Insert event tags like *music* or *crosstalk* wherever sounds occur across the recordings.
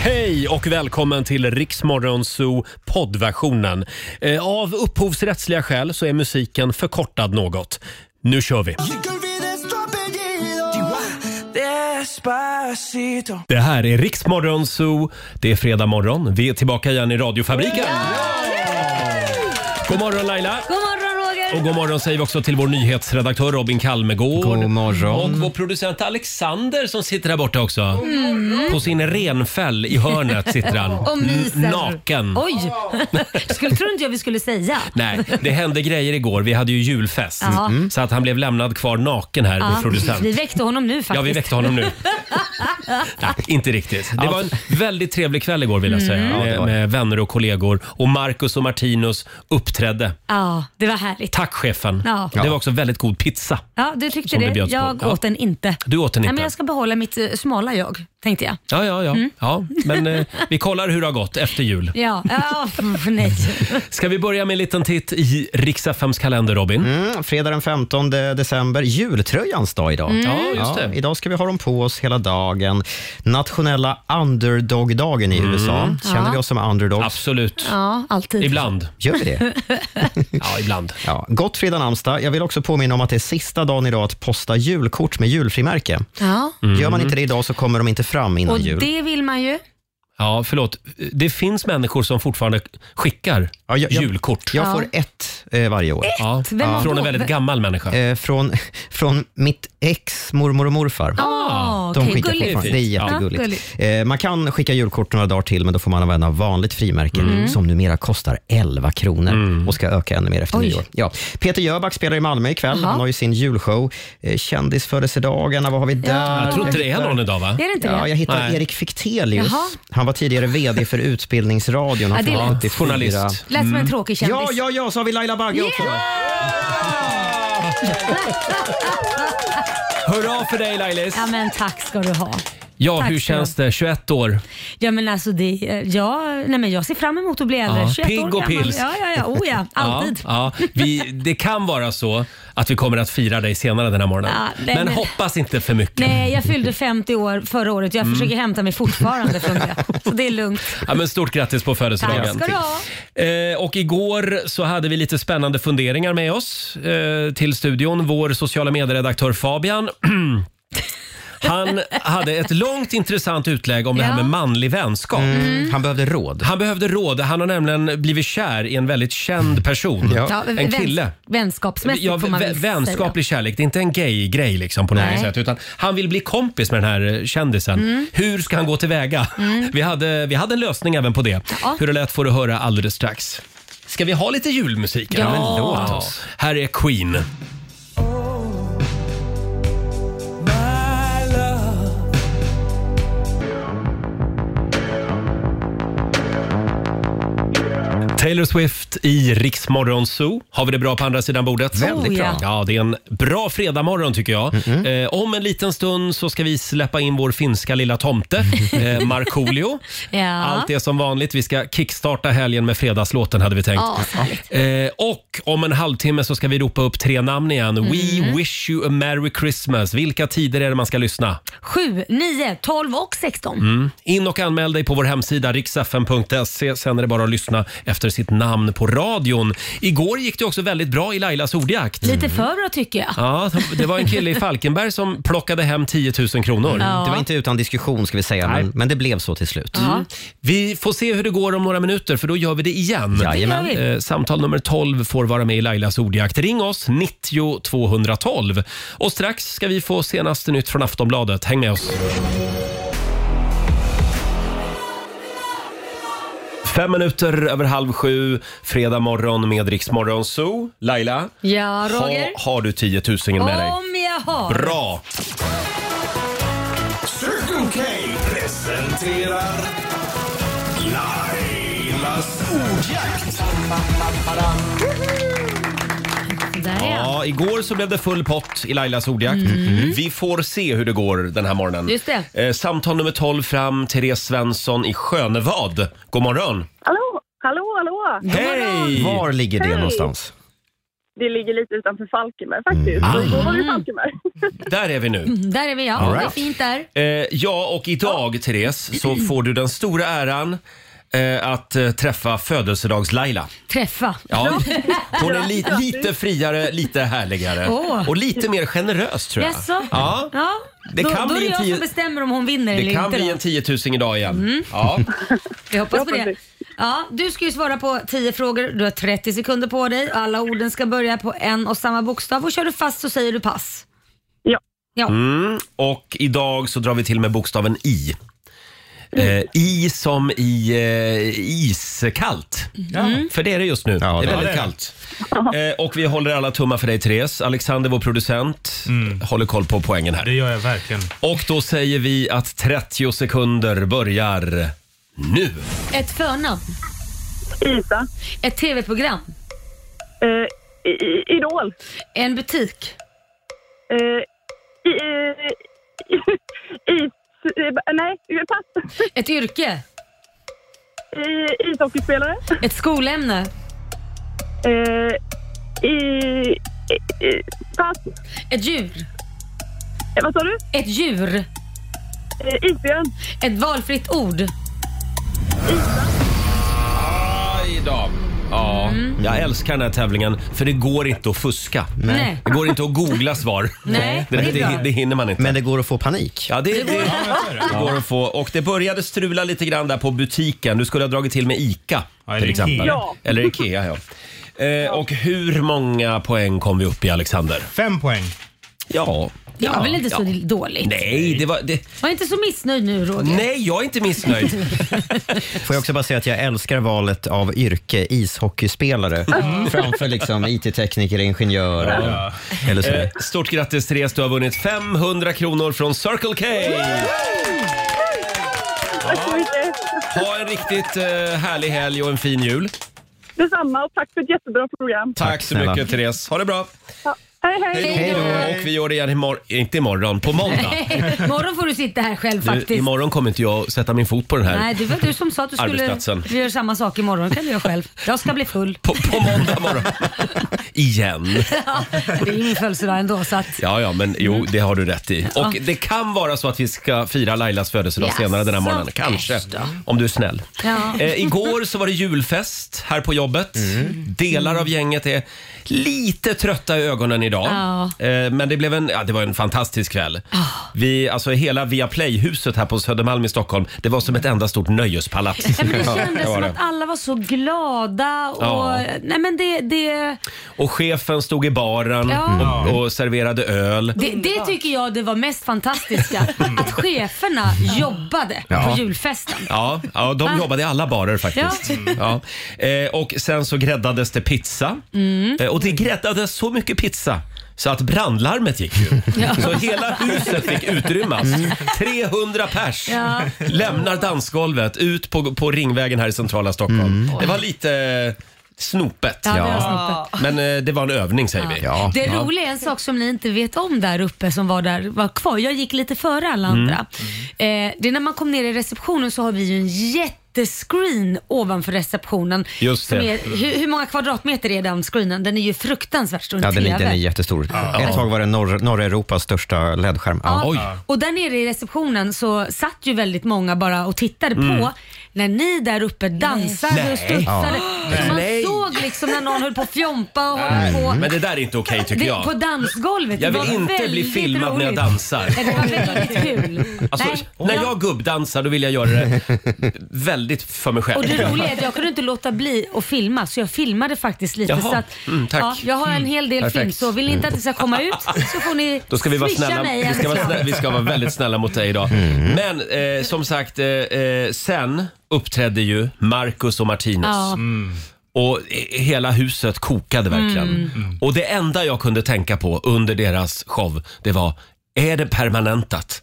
Hej och välkommen till Riksmorgon Zoo poddversionen. Eh, Av upphovsrättsliga skäl så är musiken förkortad något. Nu kör vi! Det här är Riksmorgon Zoo. Det är fredag morgon. Vi är tillbaka igen i radiofabriken. God morgon Laila! God morgon Roger! Och god morgon säger vi också till vår nyhetsredaktör Robin Kalmegård. God morgon. Och vår producent Alexander som sitter där borta också. På sin renfäll i hörnet sitter han. Mm. *laughs* Och myser. N- Naken. Oj! *laughs* Skulle trodde inte jag vi skulle säga. Nej, det hände grejer igår. Vi hade ju julfest. Ja. Mm. Så att han blev lämnad kvar naken här, vår producent. vi väckte honom nu faktiskt. Ja, vi väckte honom nu. Nej, inte riktigt. Det var en väldigt trevlig kväll igår vill jag Mm. säga. Med, med vänner och kollegor. Och Marcus och Martinus uppträdde. *laughs* Ja, det var härligt. Tack chefen. Ja. Det var också väldigt god pizza. Ja, du tyckte Som det det. bjöds på. jag Ja. åt den inte. Du åt den Nej, inte. men jag ska Mm. behålla mitt eh, smala jag, tänkte jag. Ja, ja, ja. ja men eh, vi kollar hur det har gått efter jul. Ja, ja *laughs* pff, nej. Ska vi börja med en liten titt i Riks-FMs kalender, Robin? Mm, fredag den 15 december, jultröjans dag idag. Mm. Ja, just det. idag ska vi ha dem på oss hela dagen. Nationella underdog-dagen i USA. Känner vi oss som underdogs? Mm. Absolut. Ja, alltid. Ibland. Gör vi det? *laughs* Ja, ibland. Ja. Gott fredag namnsdag. Jag vill också påminna om att det är sista dagen idag att posta julkort med julfrimärke. Ja, Mm. Gör man inte det idag så kommer de inte fram innan och jul. det vill man ju. Ja, förlåt. Det finns människor som fortfarande skickar Ja, jag- jag- julkort. Jag får ett eh, varje år. Ja, Vem har från då- en väldigt gammal människa. Eh, från, *laughs* från mitt ex mormor och morfar. Ah, De okej, skickar gulligt. fortfarande. Det är Ja. Ja, jättegulligt. Eh, man kan skicka julkort några dagar till, men då får man använda vanligt frimärke Mm. som numera kostar 11 kronor Mm. och ska öka ännu mer efter Oj. nyår. Ja. Peter Jöback spelar i Malmö ikväll. Han har ju sin julshow. Eh, Kändisfödelsedagarna, vad har vi där? Jag tror inte det är någon idag, va? Är det inte Ja, det? jag hittar Nej. Erik Fichtelius. Jaha. Han var tidigare VD för Utbildningsradion. Ja, Han det fyllde lät- 84. Journalist. Lät som en tråkig kändis. Ja, ja, ja, så har vi Laila Bagge också. Hurra för dig Lailis! ja, men tack ska du ha. Ja, tack hur ska känns det? 21 år. Ja, men alltså det, ja, nej, men jag ser fram emot att bli äldre. Ja, 21 år pigg och gammal. pils. Ja, ja, ja, oh, *laughs* ja. alltid. Ja, ja. Vi, det kan vara så att vi kommer att fira dig senare den här morgonen. Ja, nej, men men- hoppas inte för mycket. Nej, jag fyllde 50 år förra året. Mm. Jag försöker hämta mig fortfarande från det. Så det är lugnt. Ja, men stort grattis på födelsedagen. Tack ska du ha. Eh, och igår så hade vi lite spännande funderingar med oss eh, till studion. Vår sociala medieredaktör Fabian. *clears throat* Han hade ett långt intressant utlägg om det här Ja. med manlig vänskap. Mm. Han behövde råd. Han behövde råd. Han har nämligen blivit kär i en väldigt känd person. Ja. Ja, En kille. Vänskapsmässigt Ja, får man vä- väl säga. vänskaplig kärlek. Det är inte en gay-grej liksom på något Nej. Mm. sätt. Utan han vill bli kompis med den här eh, kändisen. Hur ska han gå tillväga? Vi, hade, vi hade en lösning även på det. Ja. Hur det lät får du höra alldeles strax. Ska vi ha lite julmusik? Ja. men låt oss. Här är Queen. Taylor Swift i Riksmorgon Zoo. Har vi det bra på andra sidan bordet? Oh, Väldigt bra. ja. Ja, det är en bra fredagmorgon tycker jag. Eh, om en liten stund så ska vi släppa in vår finska lilla tomte, eh, Markoolio. Ja. Allt är som vanligt. Vi ska kickstarta helgen med fredagslåten hade vi tänkt. Ja, så härligt. Eh, och om en halvtimme så ska vi ropa upp tre namn igen. Mm. We wish you a merry Christmas. Vilka tider är det man ska lyssna? Mm. 7, 9, 12 och 16. In och anmäl dig på vår hemsida riksfn.se. Sen är det bara att lyssna efter sitt namn på radion. Igår gick det också väldigt bra i Lailas ordjakt. Lite för bra tycker jag. Mm. Ja, det var en kille i Falkenberg som plockade hem 10 000 kronor. Det var inte utan diskussion ska vi säga, men, men det blev så till slut. Ja. Mm. Vi får se hur det går om några minuter för då gör vi det igen. Jajamän. Det gör Eh, Samtal nummer 12 får vara med i Lailas ordjakt. Ring oss, 90 212. Och strax ska vi få senaste nytt från Aftonbladet. Häng med oss. Fem minuter över halv sju, fredag morgon med Rix Morgon Zoo. Laila, Ja, Roger. ha, har du 10 000 med dig? Om jag har. Bra! Circle K presenterar Lailas ordjakt. Där är han. Ja, igår så blev det full pott i Lailas ordjakt. Vi får se hur det går den här morgonen. Just det. Eh, samtal nummer 12 fram, Therese Svensson i Sjönevad. God morgon! Hallå, hallå, hallå! Hej! Var ligger det någonstans? det ligger lite utanför Falkenberg faktiskt. Mm. Så då var det Ah. Falkenberg. Där är vi nu. Där är vi, ja. All right. Det är fint där. Eh, ja, och idag Therese så får du den stora äran eh, att eh, träffa födelsedags-Laila. Träffa. *laughs* Ja. Hon är li- lite friare, lite härligare Åh. och lite mer generös tror jag. Jaså? Ja. Ja, Det då, kan då är bli det en jag tio- som bestämmer om hon vinner Det eller kan inte. bli då. en 10 000 idag igen. Ja. Vi hoppas på Jag det. hoppas Ja, du ska ju svara på 10 frågor. Du har 30 sekunder på dig. Alla orden ska börja på en och samma bokstav och kör du fast så säger du pass. Ja. Ja, Mm. Och idag så drar vi till med bokstaven I. Eh, I som i eh, iskallt. Mm. Mm. För det är det just nu. Ja, det det är är väldigt det. kallt. Eh, och vi håller alla tummar för dig Therese. Alexander, vår producent, håller koll på poängen här. Det gör jag verkligen. Och då säger vi att 30 sekunder börjar nu. Ett förnamn. Isa. Ett tv-program. Eh, i- i- Idol. En butik. Eh, i, eh, is... eh, Nej, pass. Ett yrke. I- Ishockeyspelare. Ett skolämne. Eh, I... i- Pass. Ett djur. Eh, Vad sa du? Ett djur. Eh, Isbjörn. Ett valfritt ord. Aj då. Ja, jag älskar den här tävlingen för det går inte att fuska. Nej. Det går inte att googla svar. Nej, det, det, det är det, bra. hinner man inte. Men det går att få panik. Ja, det, det, det går att få. Och det började strula lite grann där på butiken. Du skulle ha dragit till med ICA Ja, eller till exempel. Ikea. Ja. Eller IKEA, ja. Eh, och hur många poäng kom vi upp i, Alexander? Fem poäng. Ja. Det var väl inte så dåligt? Nej, Mm. det var... Det... Var inte så missnöjd nu Roger. Nej, jag är inte missnöjd. *laughs* Får jag också bara säga att jag älskar valet av yrke *laughs* ishockeyspelare Mm. framför liksom IT-tekniker, ingenjör eller så. Eh, Stort grattis Therese, du har vunnit 500 kronor från Circle K! Tack så mycket. Ha en riktigt eh, härlig helg och en fin jul. Detsamma och tack för ett jättebra program. Tack, Tack, så snälla. mycket Therese. Ha det bra! Ja. Hej, hej. Hej då. Och vi gör det igen imorgon, inte imorgon, *laughs* på måndag. Imorgon får du sitta här själv faktiskt. Du, imorgon kommer inte jag sätta min fot på den här. Nej, det var du som sa att du skulle Arbetsplatsen. göra samma sak imorgon. kan du göra själv. Jag ska bli full. På, *laughs* på måndag morgon. igen. Det är ju min födelsedag ändå så att... Ja, ja, men jo, det har du rätt i. Mm. Ja. Och det kan vara så att vi ska fira Lailas födelsedag Jaså, senare den här morgonen. Kanske. äsch Om du är snäll. Ja. Eh, igår så var det julfest här på jobbet. Mm. Delar av gänget är lite trötta i ögonen idag. Ja. Eh, men det, blev en, ja, det var en fantastisk kväll. Vi, alltså, hela Viaplay-huset här på Södermalm i Stockholm, det var som ett enda stort nöjespalats. Ja, men det det kändes var som det. att alla var så glada och... Ja. Nej men det, det, Och chefen stod i baren Ja. Mm. och, och serverade öl. det, det tycker jag det var mest fantastiska. Att cheferna jobbade Mm. Ja. på julfesten. Ja, ja de Va? jobbade i alla barer faktiskt. Ja. Eh, och sen så gräddades det pizza. Mm. Eh, och det gräddades så mycket pizza så att brandlarmet gick ju. *laughs* Så hela huset fick utrymmas. 300 pers Mm. Ja. lämnar dansgolvet ut på, på Ringvägen här i centrala Stockholm. Det var lite eh, snopet. Mm. Ja, det var snopet. Men eh, det var en övning säger vi. Ja. Det roliga är en sak som ni inte vet om där uppe som var där var kvar. Jag gick lite före alla Mm. andra. Eh, det är när man kom ner i receptionen så har vi ju en jättescreen ovanför receptionen. Just Som det. är, hur, hur många kvadratmeter är den screenen? Den är ju fruktansvärt stor. en Ja, den, är, TV. den är jättestor. Ett tag var det norr, norra Europas största LED-skärm. Ja. Oj. Och där nere i receptionen så satt ju väldigt många bara och tittade på när ni där uppe dansade Mm. Nej. och studsade. Så Man Nej. såg liksom när någon höll på att fjompa och höll på. Mm. Men det där är inte okej tycker Mm. Det, jag. på dansgolvet. Jag Det vill var inte bli väldigt filmad när jag roligt. dansar. Nej, Det var *laughs* väldigt kul. Alltså, Nej, när jag- jag gubbdansar då vill jag *laughs* göra det väldigt för mig själv. Och det roliga är att jag kunde inte låta bli att filma så jag filmade faktiskt lite. Jaha. Så att, Mm, tack. Ja, jag har en hel del Perfekt. Mm. film så vill ni inte att det ska komma ut så får ni Då ska vi vara swisha snälla. mig. Vi ska vara, alltså. snä, vi ska vara väldigt snälla mot dig idag. Mm. Men eh, som sagt, eh, eh, sen uppträdde ju Marcus och Martinus. Ja. Mm. Mm. Och i- hela huset Mm. kokade verkligen. Och det enda jag kunde tänka på under deras show, det var Är *laughs* det permanentat?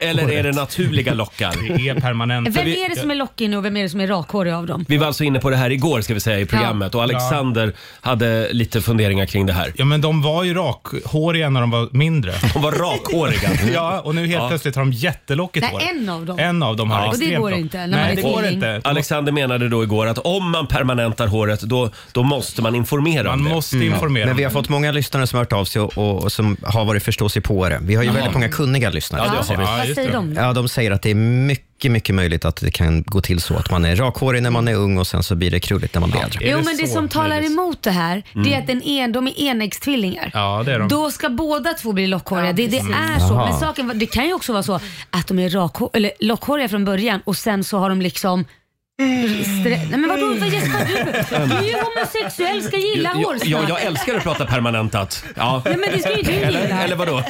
eller, eller är det naturliga lockar? Det är permanent. Vem är det som är lockig och vem är det som är rakhårig av dem? Vi var alltså inne på det här igår ska vi säga i programmet och Alexander hade lite funderingar kring det här. Ja, men de var ju rakhåriga när de var mindre. *laughs* De var rakhåriga. *laughs* Ja, och nu helt plötsligt har de jättelockigt Nej, hår. en av dem. En av dem har Ja. Och det extremt går lock. inte när man är Nej, det går tvilling. inte. Alexander menade då igår att om man permanentar håret då, då måste man informera Man om det. Mm. måste informera. Mm. Men vi har dem. fått många lyssnare som har hört av sig och, och, och som har varit förståsigpåare. Vi har ju väldigt många kunniga lyssnare. Ja, det har vi. Ja, Vad just säger det. de? Ja, de säger att det är mycket, mycket möjligt att det kan gå till så att man är rakhårig när man är ung och sen så blir det krulligt när man blir äldre. Är Jo det men det så som talar möjligt? emot det här, det är att den en, de är enäggstvillingar. Ja, det är de. Då ska båda två bli lockhåriga. det, det är så. Men saken, var- det kan ju också vara så att de är rakhå- eller lockhåriga från början och sen så har de liksom Stre- Nej men vadå, vad gäspar du? Du är ju homosexuell, ska gilla Jag, hårsnack. jag, jag älskar att prata permanentat. Ja. Nej men det ska ju du gilla. Eller, *laughs* eller vadå?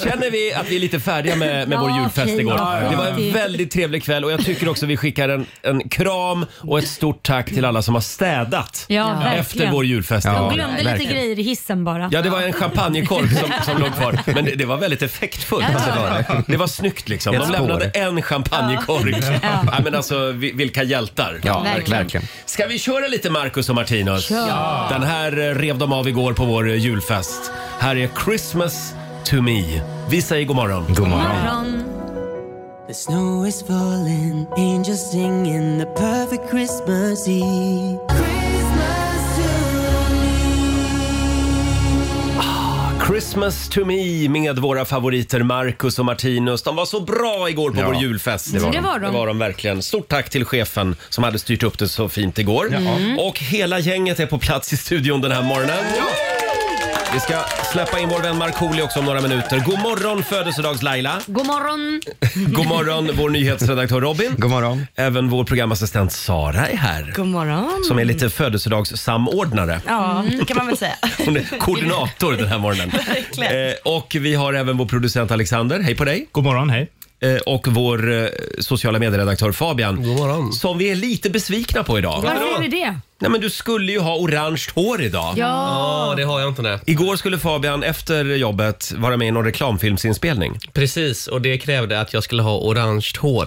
Känner vi att vi är lite färdiga med, med vår Ja, julfest okej. igår? Ja, ja. Det var en väldigt trevlig kväll och jag tycker också vi skickar en, en kram och ett stort tack till alla som har städat Ja, efter verkligen. vår julfest Ja. Jag igår. glömde lite verkligen. grejer i hissen bara. Ja, det var en champagnekork *laughs* som, som låg kvar. Men det, det var väldigt effektfullt. Ja, Alltså, det var det, var, snyggt liksom. Ett De spår. lämnade en champagnekork. Ja. men alltså, vi- vilka hjältar. Ja, verkligen. verkligen. Ska vi köra lite Marcus och Martinus? Ja. Den här eh, rev de av igår på vår eh, julfest. Här är Christmas to me. Vi säger god morgon. God morgon. Morgon. The snow is falling, angels singing the perfect Christmas Eve. Christmas to me med våra favoriter Marcus och Martinus. De var så bra igår på Ja, vår julfest. det var de. Det var de. Det var de verkligen. Stort tack till chefen som hade styrt upp det så fint igår. Och hela gänget är på plats i studion den här morgonen. Vi ska släppa in vår vän Markoolio också om några minuter. God morgon födelsedags-Laila. God morgon. God morgon vår nyhetsredaktör Robin. God morgon. Även vår programassistent Sara är här. God morgon. Som är lite födelsedagssamordnare. Ja, det kan man väl säga. *laughs* Hon är koordinator den här morgonen. *laughs* Verkligen. Eh, och vi har även vår producent Alexander, hej på dig. God morgon, hej. Eh, och vår eh, sociala medieredaktör Fabian. God morgon. Som vi är lite besvikna på idag. Varför är vi det? Nej men du skulle ju ha orange hår idag. Ja. Ja, Ah, det har jag inte nej. Igår skulle Fabian efter jobbet vara med i någon reklamfilmsinspelning. Precis, och det krävde att jag skulle ha orange hår.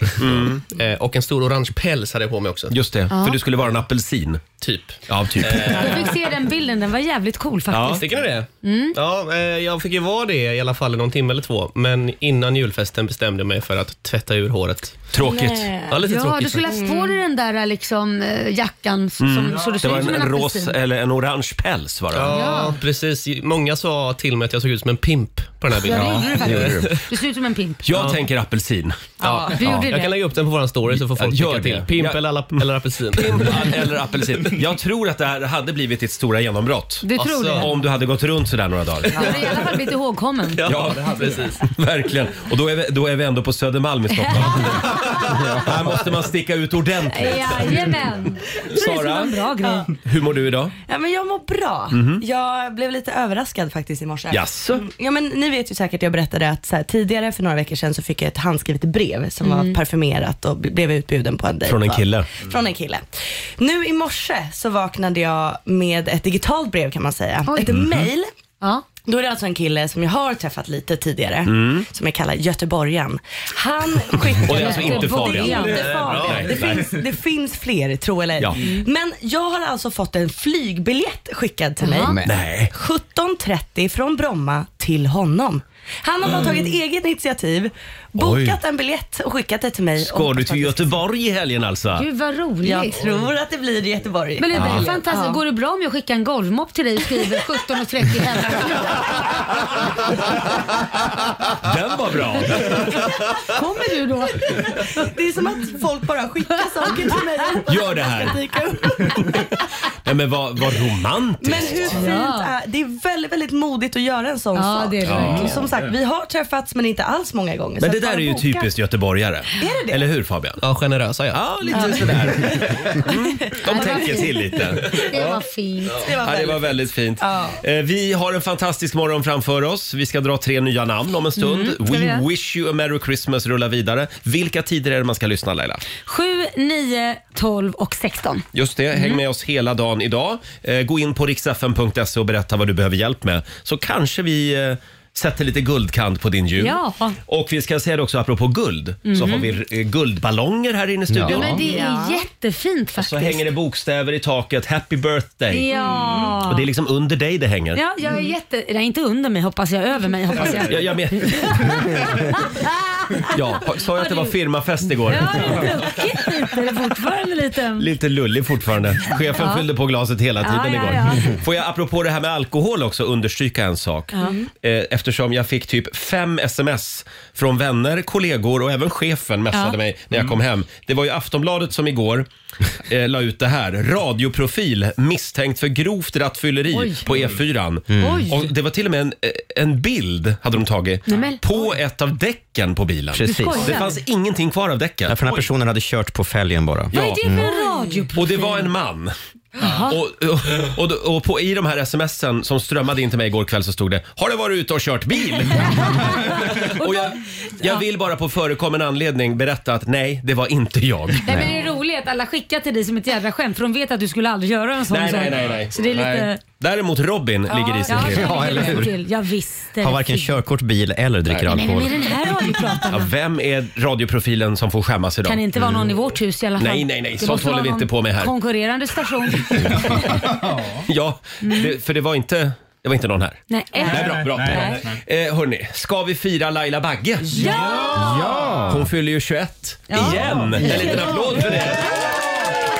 Eh, och en stor orange päls hade jag på mig också. Mm. Just det, för du skulle vara en apelsin. Typ. Ja, typ. *laughs* Jag fick se den bilden, den var jävligt cool Ja. faktiskt. Mm. Tycker ni det? Ja, eh, jag fick ju vara det i alla fall i någon timme eller två. Men innan julfesten bestämde jag mig för att tvätta ur håret. Tråkigt. Mm. Ja, lite ja, tråkigt du skulle haft på dig den där eh, liksom, eh, jackan s- som, så du Det ser var ut en, som en en ros apelsin. eller en orange päls var det. Ja, precis. Många sa till mig att jag såg ut som en pimp på den här bilden. Ja, Ja. det gjorde *laughs* du faktiskt. Du ser ut som en pimp. Jag tänker apelsin. Du gjorde Jag kan det. lägga upp den på vår story så får folk Gör tycka till. det. Pimp Ja. eller, alla, eller *laughs* apelsin. Eller apelsin. Jag tror att det här hade blivit ditt stora genombrott. Du tror Alltså, det. Om du hade gått runt sådär några dagar. Du hade i alla fall blivit ihågkommen. Ja, precis. *laughs* Verkligen. Och då är, vi, då är vi ändå på Södermalm i Stockholm. *laughs* Här måste man sticka ut ordentligt. Jajamän. Jag tror Det är Sara? en bra grej. Hur mår du idag? Ja, men jag mår bra. Jag blev lite överraskad faktiskt i morse. Mhm. Mm. Jaså? Ja, men ni vet ju säkert, jag berättade att så här, tidigare för några veckor sedan så fick jag ett handskrivet brev som Mm. var parfymerat och bl- blev utbjuden på en dejt. Från en va? kille. Från en kille. Nu i morse så vaknade jag med ett digitalt brev kan man säga. Oj. Mhm. Ett mail. Ja. Då är det alltså en kille som jag har träffat lite tidigare, som jag kallar Göteborgaren. Han Mm. Och det skickade... är alltså inte Göteborgaren. Fabian. Det, är inte Nej, Fabian. det, nej. finns, det finns fler, tro eller ej. Ja. Men jag har alltså fått en flygbiljett skickad till mig. Jaha. Nej. 17.30 från Bromma till honom. Han har bara tagit Mm. eget initiativ, bokat en biljett och skickat det till mig. Ska Och- du till Göteborg i helgen alltså? Gud vad Jag roligt. tror att det blir i Göteborg. Men det är Ja. väl fantastiskt. Går det bra om jag skickar en golvmopp till dig och skriver 17.30 hemma? Den var bra. Kommer du då? Det är som att folk bara skickar saker till mig. Gör det här. Dyka upp. Nej, men vad, vad romantiskt. Men hur fint Ja. är det? är väldigt, väldigt modigt att göra en sån Ja, sak. det är det verkligen. Och Som sagt, vi har träffats men inte alls många gånger. Men Så det att där bara är ju boka. typiskt göteborgare. Är det det? Eller hur Fabian? Ja, generösa ja. Ja, lite sådär. *laughs* De tänker till lite. Det var fint. Det var Ja, det väldigt... var väldigt fint. Ja. Eh, Vi har en fantastisk morgon framför oss. Vi ska dra tre nya namn om en stund. Mm, ska vi We göra? wish you a merry Christmas rullar vidare. Vilka tider är det man ska lyssna Laila? 7, 9, 12 och 16. Just det, Mm. häng med oss hela dagen idag. Eh, gå in på riksfn.se och berätta vad du behöver hjälp med. Så kanske vi eh, sätter lite guldkant på din jul. Ja. Och vi ska säga det också apropå guld, så Mhm. har vi eh, guldballonger här inne i studion. Men det är jättefint faktiskt. Så hänger det bokstäver i taket, happy birthday. Ja. Och det är liksom under dig det hänger. Ja, jag är jätte... Nej, inte under mig hoppas jag, över mig hoppas jag. Mm. *laughs* Ja, jag men... *laughs* ja, sa jag att det var firmafest igår? Ja, det är druckit lite, det är fortfarande lite... Lite lullig fortfarande. Chefen Ja. fyllde på glaset hela Ja, tiden ja, igår. ja. Får jag apropå det här med alkohol också understryka en sak? Ja. Eh, Eftersom jag fick typ fem sms från vänner, kollegor och även chefen messade Ja. Mm. mig när jag kom hem. Det var ju Aftonbladet *laughs* som igår eh, la ut det här. Radioprofil misstänkt för grovt rattfylleri Oj. på E4. Mm. Oj. Och det var till och med en, eh, en bild, hade de tagit, Nej, men- på ett av däcken på bilen. Precis. Du skojar. Det fanns ingenting kvar av däcken. Ja, för den här personen hade kört på fälgen bara. Vad är det för en radioprofil? Mm. Och det var en man. Och, och, och, och på, i de här smsen som strömmade in till mig igår kväll så stod det “Har du varit ute och *laughs* kört bil?” Och jag, jag vill bara på förekommen anledning berätta att nej, det var inte jag. Nej, men det är roligt att alla skickar till dig som ett jävla skämt för de vet att du skulle aldrig göra en sån Nej, sak. nej, nej. nej. Så det är lite... nej. Däremot Robin ligger i sin ja, till. ja, eller hur? Jag visste Har varken Fy. körkort, bil eller dricker Nej, Nej. men alkohol. med den här radiopratarna Ja, vem är radioprofilen som får skämmas idag? kan det inte vara någon i vårt hus i alla fall. Nej, nej, nej, Det sånt måste håller vara vi inte någon på med här. Konkurrerande station. Ja, det, för det var inte, det var inte någon här. Mm. nej, Nej, bra, bra. Nej. Eh, hörni, ska vi fira Laila Bagge? Ja! Hon fyller ju 21 Ja. igen. En liten applåd för det.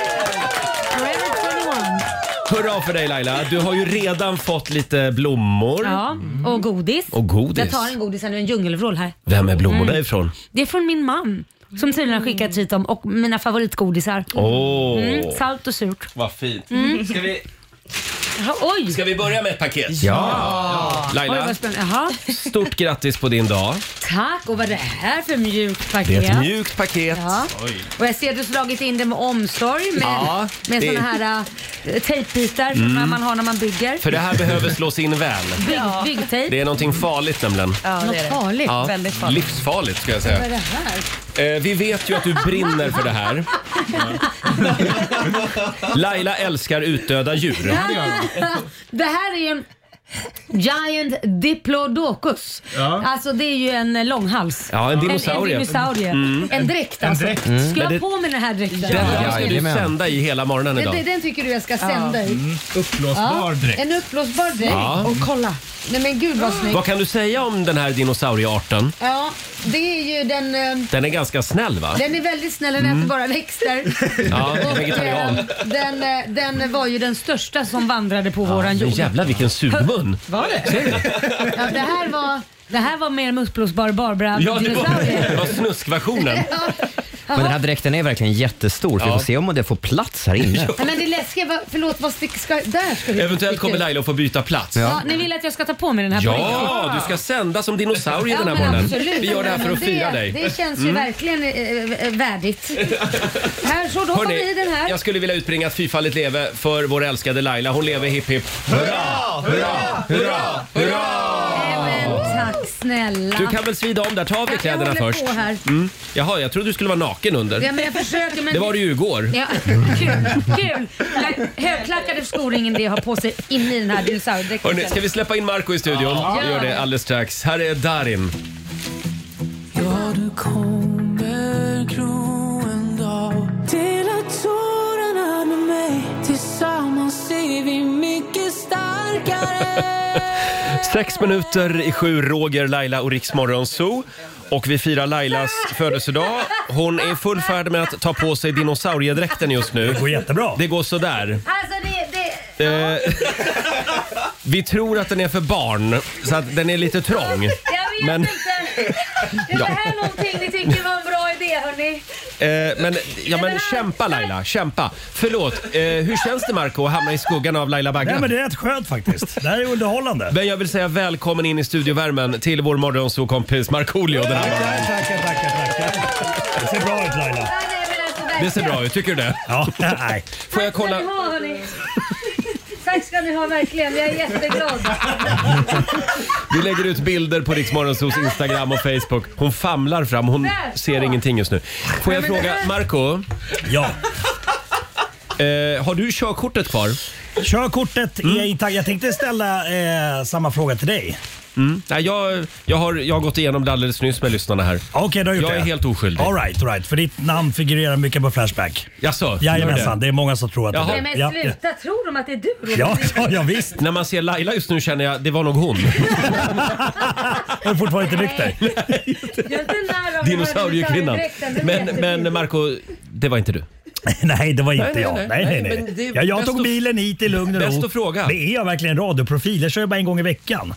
Forever 21. Hurra för dig Laila. Du har ju redan fått lite blommor. Ja, och godis. Och godis. Jag tar en godis, här nu en djungelvrål här. Vem är Mm. blommorna ifrån? Det är från min man Mm. som tydligen har skickat hit dem och mina favoritgodisar. Åh, Mm, salt och surt. vad fint. Ska, vi, Jaha, Oj! ska vi börja med ett paket? Ja. Oj, Laila, vad spännande. Jaha. stort grattis på din dag. Tack! Och vad är det här för mjukt Det paket? är ett mjukt paket. Ja. Och jag ser att du slagit in det med omsorg med, Ja, med det- Mm. såna här äh, tejpbitar som man har när man bygger. För det här behöver slås in väl. Bygg, Byggtejp. Det är någonting farligt nämligen. Ja, det är Något det. farligt. Ja, Väldigt farligt. Livsfarligt ska jag Vad säga. är det här? Eh, vi vet ju att du brinner för det här. *laughs* Laila älskar utdöda djur. *laughs* Det här är en Giant Diplodocus. Alltså det är ju en eh, långhals. Ja, en En, dinosaurie. Mm. en dinosaurie. En dräkt alltså. dräkt. Ska jag Men det- ha på mig den här dräkten? Den där ska du Jajamän. sända i hela morgonen Den, idag. den, den tycker du jag ska sända ut? Uppblåsbar dräkt. En uppblåsbar dräkt. Ja. Och kolla. Nej men gud vad snygg. Vad kan du säga om den här dinosauriearten? Ja, det är ju den... eh, Den är ganska snäll va? Den är väldigt snäll, den äter bara växter. Mm. *laughs* Ja, Och, vegetarian. eh, den, eh, den var ju den största som vandrade på våran Men jord. jävlar vilken sugmun! Var det? Ja, det, här var, det här var mer en uppblåsbar Barbara Ja, det var, dinosaurie. det var snuskversionen. *laughs* Ja. Men den här dräkten är verkligen jättestor. så Vi Ja. får se om det får plats här inne. Ja, Men det läskiga var, förlåt vad stick, ska, där ska du Eventuellt kommer Laila att få byta plats. Ja. ni vill att jag ska ta på mig den här på riktigt? Ja, du ska sända som dinosaurie den här men morgonen. absolut. Vi gör det här för att Det- fira dig. Mm. Det känns ju verkligen eh, eh, värdigt. Här, så då har vi Hörrni, den här. jag skulle vilja utbringa ett fyrfaldigt leve för vår älskade Laila. Hon lever hipp hipp. Hurra, hurra, hurra! Nej, men tack snälla. Du kan väl svida om där. Ta av dig jag kläderna håller först. Mm. på här. Jaha, jag trodde du skulle vara naken Ja, under. men jag försöker men... Det var du ju igår. Ja, kul, kul. La- Högklackade skor är ingen det jag har på sig in i den här dinosauriedräkten. Hörrni, ska vi släppa in Marco i studion? Vi gör det alldeles strax. Här är Darin. Ja, du kommer gro en dag Dela tårarna med mig Tillsammans är vi mycket starkare Sex minuter i sju, Roger, Laila och Riksmorgon Zoo. Och vi firar Lailas födelsedag. Hon är i full färd med att ta på sig dinosauriedräkten just nu. går jättebra. Det går sådär. Alltså det, det... Eh, vi tror att den är för barn, så att den är lite trång. Jag vet Men, inte. Det var här någonting ni tycker var en bra idé hörni. eh, men, ja, men kämpa Laila, kämpa. Förlåt, eh, hur känns det Marco att hamna i skuggan av Laila Bagge? Nej, men det är rätt skönt faktiskt. Det här är underhållande. Men jag vill säga välkommen in i studiovärmen till vår morgonsåkompis Markoolio den här morgonen. Tackar, tackar, tackar, tackar. Det ser bra ut Laila. Ja, nej, men alltså, Det verkligen. ser bra ut, tycker du det? *laughs* Ja, nej. Får jag kolla? Tack ska ni ha hörni. Tack ska ni ha verkligen. Jag är jätteglad. Vi lägger ut bilder på Riksmorgonsos Instagram och Facebook. Hon famlar fram, hon Där, så. ser ingenting just nu. Får jag Nej, men fråga, det- Marco? Ja. Eh, har du körkortet kvar? Körkortet är intakt. Jag tänkte ställa eh, samma fråga till dig. Mm. Nej, jag, jag, har, jag har gått igenom det alldeles nyss med lyssnarna här. Okej, du har gjort jag det. är helt oskyldig. All right, all right. För ditt namn figurerar mycket på Flashback. Jaså? gör Jajamensan, det? det är många som tror att det Nej är men du. Ja, ja. sluta, tror de att det är du Roger? Ja, ja, ja visst. När man ser Laila just nu känner jag, det var nog hon. *laughs* Jag är fortfarande inte nykter. Jag är inte nära av Dinosauriekvinnan. Men, men Marco, det var inte du. *laughs* Nej, det var inte nej, jag. nej. Nej, Nej, nej, nej. men det är ja, jag bäst tog att- bilen hit i lugn och ro. Bäst att fråga. Men är jag verkligen radioprofil? Jag kör ju bara en gång i veckan.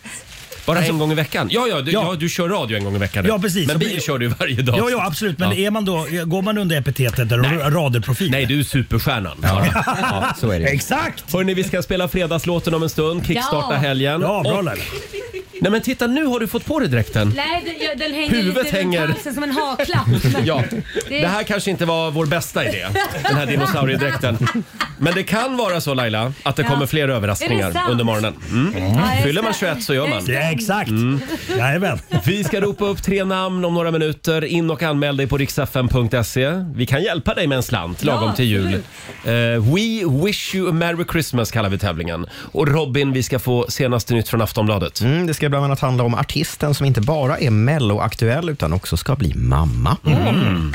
Bara en gång i veckan? Ja, ja, du, ja. Ja. du kör radio en gång i veckan. Ja, precis. Men Så bil blir- kör du ju varje dag. Ja, ja absolut. Men Ja. är man då, går man under epitetet där radioprofil? Nej, du är superstjärnan. Ja. *laughs* Ja, så är det. Exakt! Hörni, vi ska spela fredagslåten om en stund. Kickstarta Ja. helgen. Ja, bra Och- Laila. Nej men titta, nu har du fått på dig dräkten. Nej, det- jag- den hänger Huvudet lite hänger. runt halsen som en haklapp. Men Ja, det, det här kanske inte var vår bästa idé, den här dinosauriedräkten. Men det kan vara så Laila, att det Ja. kommer fler Är överraskningar det sant? under morgonen. Mm. Ja, jag Fyller man ska- 21 så gör man. Mm. Ja, exakt. Jajamän. Vi ska ropa upp tre namn om några minuter. In och anmäl dig på riksfm.se. Vi kan hjälpa dig med en slant lagom Ja, till jul. Eh, We wish you a merry Christmas kallar vi tävlingen. Och Robin, vi ska få senaste nytt från Aftonbladet. Mm, det ska bland annat handla om artisten som inte bara är melloaktuell utan också ska bli mamma. Mm.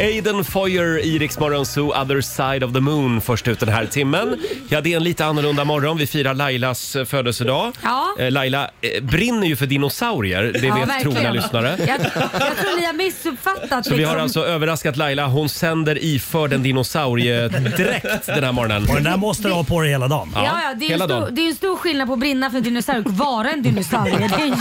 Aiden Foyer i Rix Morgon Zoo, Other Side of the Moon först ut den här timmen. Ja, det är en lite annorlunda morgon. Vi firar Lailas eh, födelsedag. Ja. Eh, Laila eh, brinner ju för dinosaurier, det ja, vet verkligen. trogna lyssnare. Jag, jag tror ni har missuppfattat. liksom. Så vi har alltså överraskat Laila. Hon sänder iförd en dinosauriedräkt den här morgonen. Och den där måste du ha på dig hela dagen. Ja, ja, det, är ju en hela stor, dagen. det är ju en stor skillnad på att brinna för en dinosaurie och vara en dinosaurie. Det är, ju-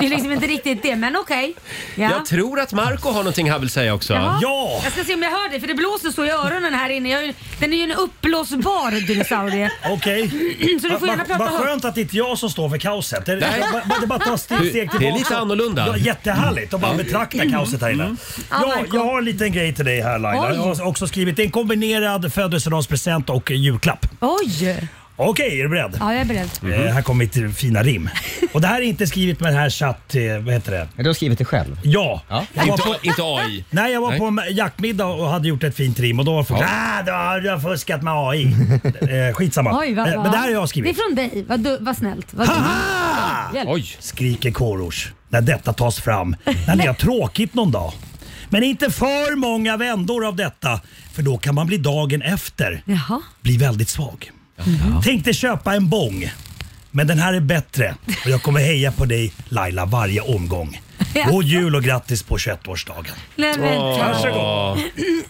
det är liksom inte riktigt det, men okej. Ja. Jag tror att Marco har någonting han vill säga också. Jaha. Ja! Jag ska se om jag hör dig, för det blåser så i öronen här inne. Jag, är ju- den är ju en uppblåsbar dinosaurie. *laughs* Okej. *clears throat* Så du får gärna Ah, Vad prata högt. skönt att det inte är jag som står för kaoset. Det, Nej. det, bara- det bara tar Du, steg, steg det är tillbaka. lite annorlunda. Mm. Ja, jättehärligt att bara betrakta kaoset här inne. Ja, Marco. jag har en liten grej till dig här Laila. Oj. Jag har också skrivit det är en kombinerad födelsedagspresent och julklapp. Oj! Okej, är du beredd? Ja, jag är beredd. Mhm. Eh, här kommer mitt fina rim. Och det här är inte skrivet med den här chatt... eh, Vad heter det? Du har skrivit det själv. Ja. Jag var Inte, på, inte AI. nej, jag var Nej. på en jaktmiddag och hade gjort ett fint rim och då var folk ah, du har, du har fuskat med *laughs* AI. eh, skitsamma. Oj, vad Eh, bra. Men det här har jag Det är skrivit. från dig. Vad, du, vad snällt. Vad Haha! Hjälp. Oj. Skriker kårors när detta tas fram *laughs* när ni har tråkigt någon dag. Men inte för många vändor av detta för då kan man bli dagen efter Jaha. bli väldigt svag. Tänkte köpa en bång, men den här är bättre och jag kommer heja på dig Laila *laughs* varje omgång. God jul och grattis på 21-årsdagen. Nej, men, Varsågod.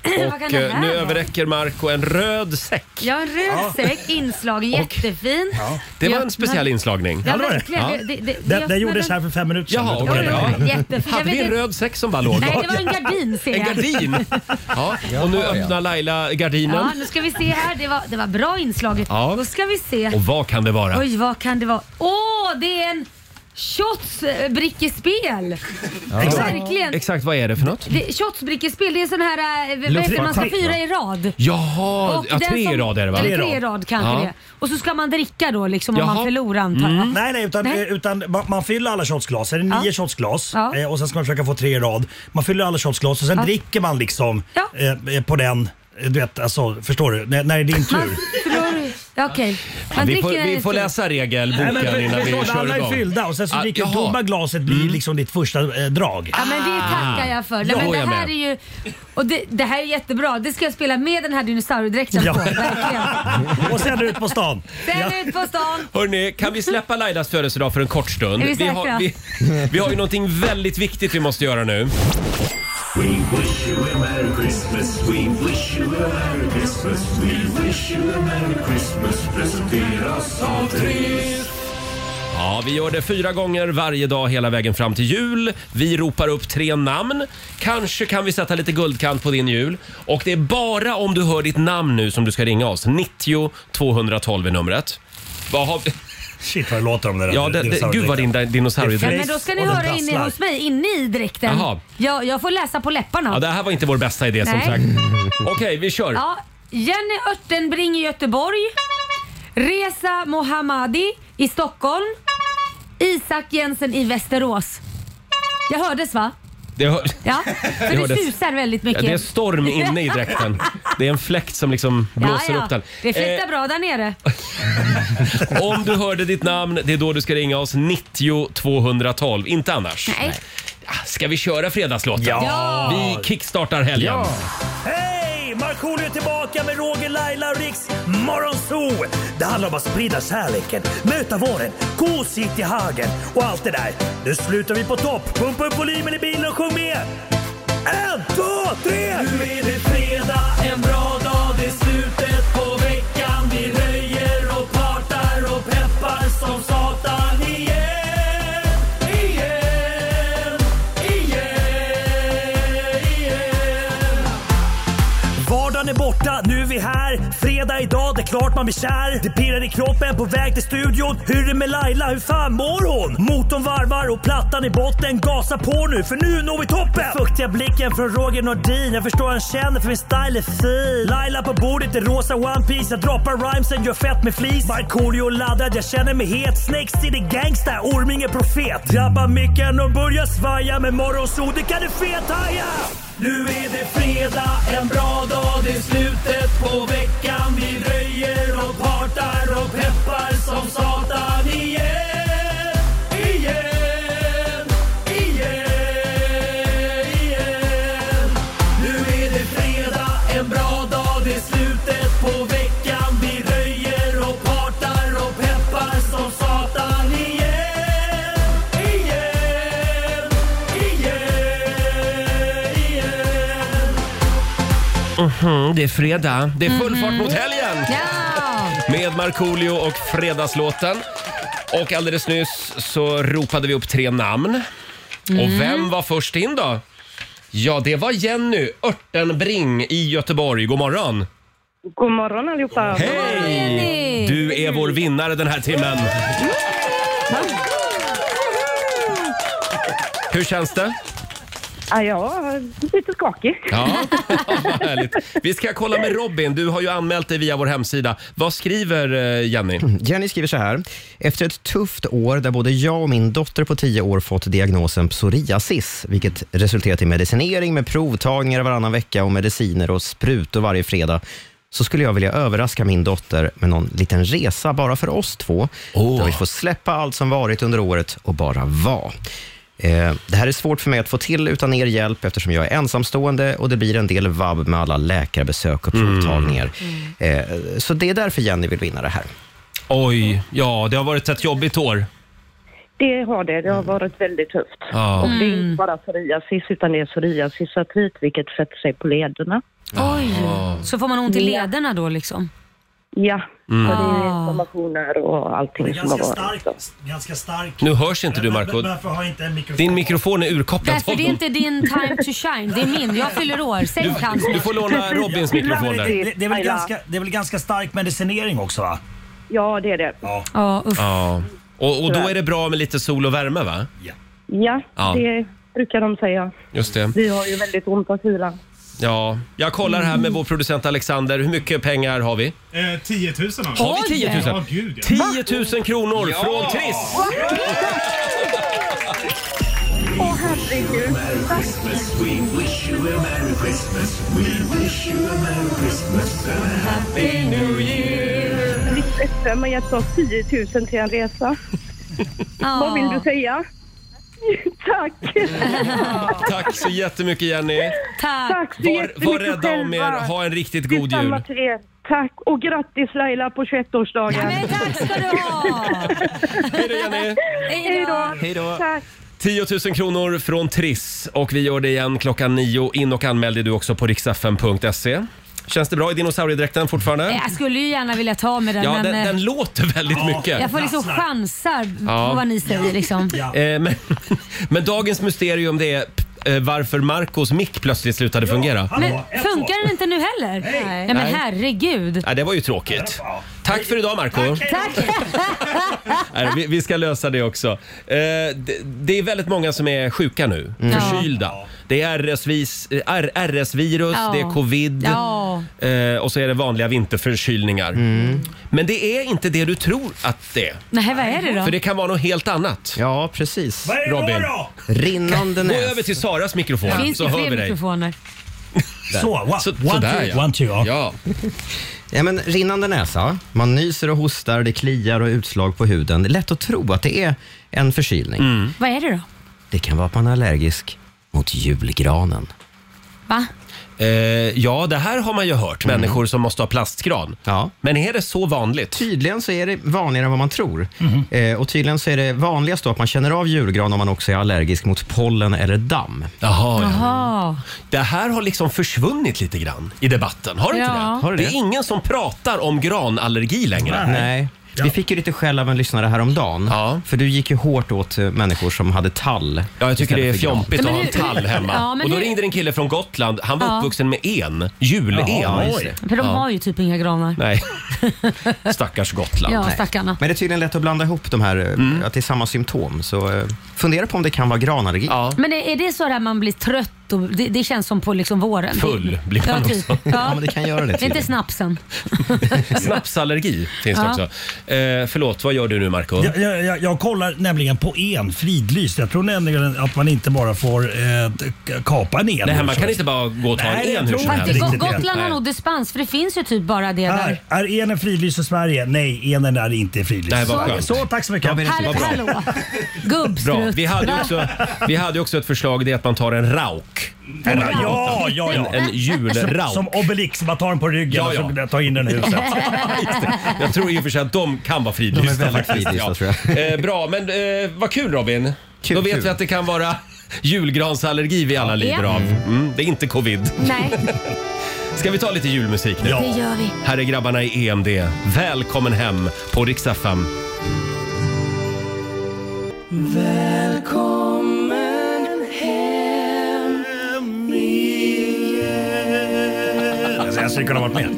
*clears throat* Vad kan Och det eh, här nu vara? överräcker Marco en röd säck. Jag har en röd säck *laughs* inslagen, jättefin. Det var Jag- en speciell inslagning. Ja, Ja, det var det. verkligen. Ja. Det, det, det, Det, jag- det gjordes här för fem minuter sedan. Jaha, Då okej, kan jag- Ja, bra. jättefin. Jag Hade vi vet en inte- röd säck som bara låg Nej, där? det var en gardin ser En jag. gardin? Ja, och nu öppnar Laila *laughs* Ja, gardinen. nu ska vi se här. Det var, det var bra inslag. Ja. Då ska vi se. Och vad kan det vara? Oj, vad kan det vara? Åh, det är en shotsbrickespel! Verkligen. Exakt vad är det för något? Det, shotsbrickespel, det är sån här, eh, vad heter det, man ska Luftmatta. fyra i rad. Jaha, Och ja, den tre i som- rad är det va? Eller tre i rad kanske Ja. det är. Och så ska man dricka då liksom om Jaha. Mm. man förlorar antar jag. Nej, nej, utan, Nej. eh, utan man, man fyller alla shotsglas. Är det Ja. nio shotsglas Ja. eh, och sen ska man försöka få tre i rad. Man fyller alla shotsglas och sen dricker man liksom Ja. eh, eh, på den. eh, Du vet, alltså, förstår du? När, när det är din tur. Man förlorar... Ja, Okej. Man Vi får, dricker vi en får till. läsa regelboken innan vi förstår du, kör alla är igång. fyllda och sen så Ah, dricker du jaha. tomma glaset blir liksom ditt första eh, drag. Ja men det tackar jag för. Nej, Ah. Ja, men jag det här med. är ju... Och det, det här är jättebra. Det ska jag spela med den här dinosauriedräkten Ja. på. Verkligen. *laughs* och sen ut på stan. Sen Ja. ut på stan. Hörni, kan vi släppa Lailas födelsedag för en kort stund? Är vi har, säkra? vi, vi har ju någonting väldigt viktigt vi måste göra nu. We wish you a merry Christmas, we wish you a merry Christmas, we wish you a merry Christmas. Presenteras av Triss. Ja, vi gör det fyra gånger varje dag hela vägen fram till jul. Vi ropar upp tre namn. Kanske kan vi sätta lite guldkant på din jul. Och det är bara om du hör ditt namn nu som du ska ringa oss. 90 212 är numret. Vad har vi? Shit vad det låter om det där. Ja, det, det, gud vad din din- Ja, dinosauriedräkt. men då ska ni Och den höra inne prasslar. hos mig, inne i dräkten. Jaha. Ja, jag får läsa på läpparna. Ja, det här var inte vår bästa idé som Nej. sagt. Okej, vi kör. Ja, Jenny Örtenbring i Göteborg. Reza Mohammadi i Stockholm. Isak Jensen i Västerås. Jag hördes va? Det, hör- *laughs* Ja, Det för det hördes. susar väldigt Ja, mycket. det är storm inne i *laughs* dräkten. Det är en fläkt som liksom blåser ja, ja. upp den. Det flyttar bra där nere. Eh, om du hörde ditt namn, det är då du ska ringa oss. 90 212, inte annars. Nej. Ah, Ska vi köra fredagslåten? Ja! Vi kickstartar helgen. Ja. Hej! Markoolio är tillbaka med Roger, Laila och Riks Morgonzoo! Det handlar om att sprida kärleken, möta våren, gosigt i hagen och allt det där. Nu slutar vi på topp! Pumpa upp volymen i bilen och sjung med! En, två, tre! Nu är det fredag, en bra dag, det är slutet på veckan. Vi röjer och partar och peppar som satan igen, igen, igen, igen. Vardagen är borta, nu är vi här. Fredag idag, det är klart man blir kär. Det pirrar i kroppen på väg till studion. Hur är det med Laila, hur fan mår hon? Motorn varvar och plattan i botten. Gasa på nu, för nu når vi toppen! Den fuktiga blicken från Roger Nordin. Jag förstår han känner för min style är fin. Laila på bordet i rosa One Piece Jag droppar rhymesen, gör fett med flis. Markoolio laddad, jag känner mig het. Snake City gangsta, Orminge profet. Drabbar micken och börjar svaja. Med morgonsol, det kan du fethaja! Nu är det fredag, en bra dag, det är slutet på veckan. Vi röjer och partar och peppar som satan igen, igen, igen, igen. Nu är det fredag, en bra dag, det är slutet på veckan. Vi röjer och partar och peppar som satan igen, igen, igen, igen. Mhm, det är fredag. Det är full fart mot helgen! Ja! Med Markoolio och Fredagslåten. Och alldeles nyss så ropade vi upp tre namn. Och vem var först in då? Ja, det var Jenny Örtenbring i Göteborg. God morgon! God morgon allihopa. Hej! Du är vår vinnare den här timmen. Hur känns det? Ja, jag är lite skakig. Ja, *laughs* vad härligt. Vi ska kolla med Robin. Du har ju anmält dig via vår hemsida. Vad skriver eh, Jenny? Mm, Jenny skriver så här. Efter ett tufft år där både jag och min dotter på 10 år fått diagnosen psoriasis, vilket resulterat i medicinering med provtagningar varannan vecka och mediciner och sprutor varje fredag, så skulle jag vilja överraska min dotter med någon liten resa bara för oss två, där vi får släppa allt som varit under året och bara vara. Eh, Det här är svårt för mig att få till utan er hjälp eftersom jag är ensamstående och det blir en del vabb med alla läkarbesök och Mm. provtagningar. Mm. Eh, Så det är därför Jenny vill vinna det här. Oj, ja det har varit ett jobbigt år. Det har det. Det har varit väldigt tufft. Mm. Ja. Mm. Och det är inte bara psoriasis utan det är psoriasisartrit vilket sätter sig på lederna. Ah. Oj, så får man ont i lederna då liksom? Ja, Mm. och det är inflammationer och allting som har Ganska varit. liksom. stark, ganska stark. Nu hörs inte du Marco. Varför har jag inte en mikrofon? Din mikrofon är urkopplad. Därför det är inte din time to shine, det är min. Jag fyller år. Säg Du, hans. du får låna Robins mikrofon Det, där. det, det, är väl Laila. ganska, det är väl ganska stark medicinering också va? Ja, det är det. Ja, uff. Ja. Och, och då är det bra med lite sol och värme va? Ja, Ja. det brukar de säga. Just det. Vi har ju väldigt ont av kylan. Ja. Jag kollar här med vår producent Alexander. Hur mycket pengar har vi? Eh, 10 000 har Har vi 10 000? Ja, gud ja. 10 000 kronor från Triss! Christmas, we wish you a Merry Christmas. We wish you a Merry Christmas and a Happy Mitt FM har gett oss 10 000 till en resa. Ja. Vad vill du säga? Tack! Tack så jättemycket Jenny. Tack. Tack så Var, jättemycket var rädda om er. själva. Ha en riktigt god jul. Detsamma till er. Tack och grattis Laila på 21-årsdagen. Men tack ska du *laughs* ha! Hej då Jenny! Hej då. Hej då! Tack. 10 000 kronor från Triss och vi gör det igen klockan nio. In och anmäl dig du också på riksfm.se. Känns det bra i dinosauriedräkten fortfarande? Eh, Jag skulle ju gärna vilja ta med den, Ja, men den, eh, den låter väldigt Ja. mycket. jag får liksom Dasslar. chansar Ja. på vad ni säger liksom. *laughs* Ja. Eh, Men, men dagens mysterium det är p- eh, varför Marcos mick plötsligt slutade fungera. Men funkar den inte nu heller? Nej. Nej men Nej. herregud. Ja, det var ju tråkigt. Tack för idag Marco. Tack. *laughs* Nej, vi, vi ska lösa det också. Eh, det, det är väldigt många som är sjuka nu, Ja. förkylda. Det är RS-vis, eh, R- RS-virus, Ja. det är covid Ja. Mm. eh, och så är det vanliga vinterförkylningar. Men det är inte det du tror att det är. Nej, vad är det då? För det kan vara något helt annat. Ja, precis. Vad är det Robin. då? Rinnande Gå näs. över till Saras mikrofon Finns så det hör vi fler dig. mikrofoner? Där. Så, one- one, two, ja. one, two, ja. ja. Ja, men rinnande näsa, man nyser och hostar, det kliar och utslag på huden. Det är lätt att tro att det är en förkylning. Mm. Vad är det då? Det kan vara att man är allergisk mot julgranen. Va? Eh, ja, det här har man ju hört. Mm. Människor som måste ha plastgran. Men är det så vanligt? Tydligen så är det vanligare än vad man tror. Eh, och tydligen så är det vanligast då att man känner av julgran om man också är allergisk mot pollen eller damm. Jaha, Jaha. Det här har liksom försvunnit lite grann i debatten. Har det inte Ja. det? Har det det det? är ingen som pratar *laughs* om granallergi längre. Nej. Vi fick ju lite skäll av en lyssnare häromdagen. För du gick ju hårt åt eh, människor som hade tall. Ja, jag tycker istället det är för gran. fjompigt att ha en tall hemma. Ja, men och då hur- ringde en kille från Gotland. Han var Ja. uppvuxen med en. Jul-en. Ja, just det. För de Ja. har ju typ inga granar. Nej. *laughs* Stackars Gotland. Ja, stackarna. Men det är tydligen lätt att blanda ihop de här, eh, Mm. att det är samma symptom. Så eh, fundera på om det kan vara granallergi. Men är är det så där man blir trött? Och det, det känns som på liksom våren. Full blir man ja, typ. också. Ja, men det kan göra det Det är inte tydligen. snapsen. Snapsallergi finns det Ja. också. Eh, förlåt, vad gör du nu Marco? Jag, jag, jag, jag kollar nämligen på en fridlyst. Jag tror nämligen att man inte bara får eh, k- kapa en en. Nej, man kan inte bara gå och ta Nej, jag en en hur tror som inte helst. det. Go- Riktigt Gotland har Nej. nog dispens för det finns ju typ bara det där. Är, är enen fridlyst i Sverige? Nej, enen är inte fridlyst. Nej, vad så, skönt. så, tack så mycket. Hall- Hallå! Gubbstrutt. Bra. Vi hade, ju Va? också, vi hade ju också ett förslag, det är att man tar en rauk. En rauk. Ja, ja, ja. En, en julrauk. Som, som Obelix, man tar den på ryggen Ja, ja. och så tar in den *laughs* i huset. Jag tror i och för sig att de kan vara fridlysta. De är väldigt faktiskt, fridlysta, ja. tror Eh, bra, men eh, vad kul Robin. Då vet kul. vi att det kan vara julgransallergi vi alla lider Ja. av. Mm, det är inte covid. *laughs* Nej, Ska vi ta lite julmusik nu? det gör vi. Här är grabbarna i EMD. Välkommen hem på Rix FM. Välkommen hem igen. Alltså, jag skulle kunna ha varit med.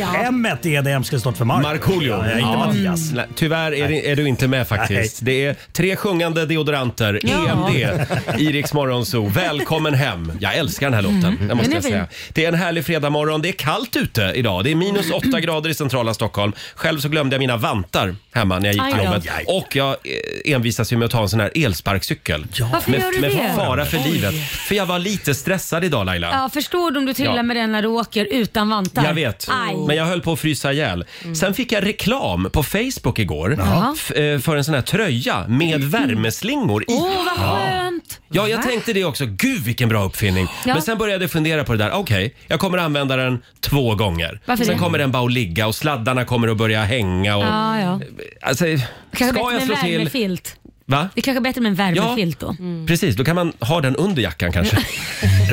ja. m är det M skulle stått för Mark. Markoolio. Ja, inte Mattias. Mm. Nej, Tyvärr är, det- är du inte med faktiskt. Det är tre sjungande deodoranter, E Ja. EMD, i Rix Morgonzoo. Välkommen hem. Jag älskar den här låten, det måste Mm. Den är jag fin. säga. Det är en härlig fredagmorgon. Det är kallt ute idag. Det är minus åtta grader i centrala Stockholm. Själv så glömde jag mina vantar hemma när jag gick Aj till då. jobbet. Och jag eh, envisas ju med att ta en sån här elsparkcykel. Varför Med, gör du med det? fara för livet. För jag var lite stressad idag Laila. Ja, förstår du om du trillar Ja. med den när du åker utan vantar? Jag vet, Aj. Mm. men jag höll på att frysa ihjäl. Sen fick jag reklam på Facebook igår Jaha. f- eh, för en sån här tröja med värmeslingor i. Mm. Åh, vad skönt! Ja, jag Va? tänkte det också. Gud vilken bra uppfinning. Ja. Men sen började jag fundera på det där. Okej, jag kommer använda den två gånger. Varför sen det? kommer den bara att ligga och sladdarna kommer att börja hänga. Och, Ja, ja. alltså, ska Kanske bättre jag med slå en till? värmefilt. Va? Det är kanske är bättre med en värmefilt då. Precis, då kan man ha den under jackan kanske.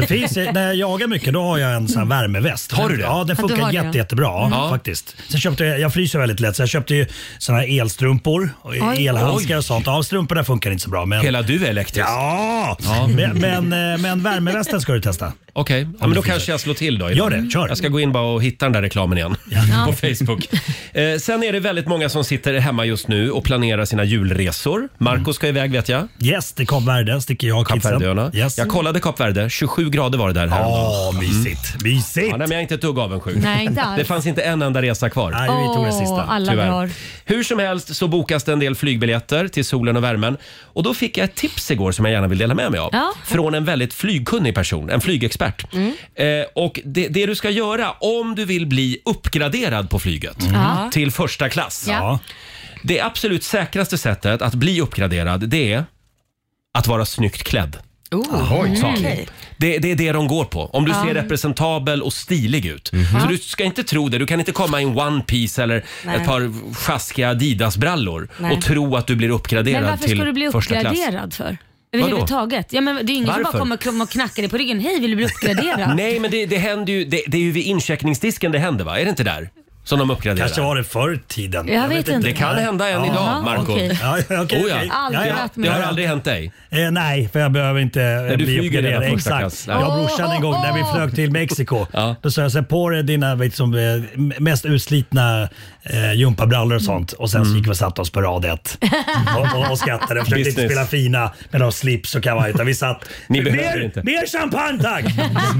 Det finns, när jag jagar mycket då har jag en sån här värmeväst. Har du det? Ja, den Ja, du funkar har det, jätte, ja. jättebra Mm. faktiskt. Sen köpte jag, jag fryser väldigt lätt, så jag köpte ju såna här elstrumpor och Oj. elhandskar och sånt. Ja, strumporna funkar inte så bra. Men, Hela du är elektrisk. ja, Men, men, eh, men värmevästen ska du testa. Okej, ja, men då kanske jag slår till då. Idag. Gör det, kör. Jag ska gå in bara och hitta den där reklamen igen *laughs* på Facebook. Eh, sen är det väldigt många som sitter hemma just nu och planerar sina julresor. Marco ska iväg vet jag. Yes, till Kap Verde sticker jag och kidsen. Kapverdöarna. Yes. Jag kollade Kap Verde, 27 grader var det där häromdagen. Ja, mysigt. Mysigt. Ja, nej, men jag är inte ett dugg avundsjuk. Nej, inte alls. Det fanns inte en enda resa kvar. Nej, vi tog det sista. Åh, alla Tyvärr. drar. Hur som helst så bokas det en del flygbiljetter till solen och värmen. Och då fick jag ett tips igår som jag gärna vill dela med mig av. Ja. Från en väldigt flygkunnig person, en flygexpert. Eh, och det, det du ska göra om du vill bli uppgraderad på flyget Mm. Ja. till första klass. Ja. Det absolut säkraste sättet att bli uppgraderad det är att vara snyggt klädd. Oh, Mm. sa han. okej. Det, det är det de går på. Om du Ja. ser representabel och stilig ut. Mhm. Så du ska inte tro det. Du kan inte komma i en one piece eller Nej. ett par sjaskiga Adidas-brallor Nej. och tro att du blir Men uppgraderad varför ska du bli till första klass. uppgraderad för? Vadå? Överhuvudtaget. Ja, men det är ju ingen som Varför? bara kommer kommer och knackar dig på *laughs* ryggen. Hej, vill du bli uppgraderad? Nej, men det, det händer ju. Det, det är ju vid incheckningsdisken det händer, va? Är det inte där? som de uppgraderar. Kanske var det förr i tiden. Jag vet inte. Det kan hända än Ja. idag, Marco. okej. Ja, ja, okej, Oh, ja. okej. Aldrig varit med. Det har aldrig hänt dig? Eh, nej, för jag behöver inte eh, du bli flyger uppgraderad. redan första Exakt. klass. Nej. Jag och brorsan en gång när vi flög till Mexiko. Då sa jag, sätt på dig dina liksom, eh, mest utslitna eh, gympabrallor Mm. och sånt. Och sen så gick vi och satte oss på *laughs* rad ett. och, och, och skrattade och försökte inte Business. spela fina med någon slips och kavaj. Utan vi satt... Ni behöver mer, inte. mer champagne tack!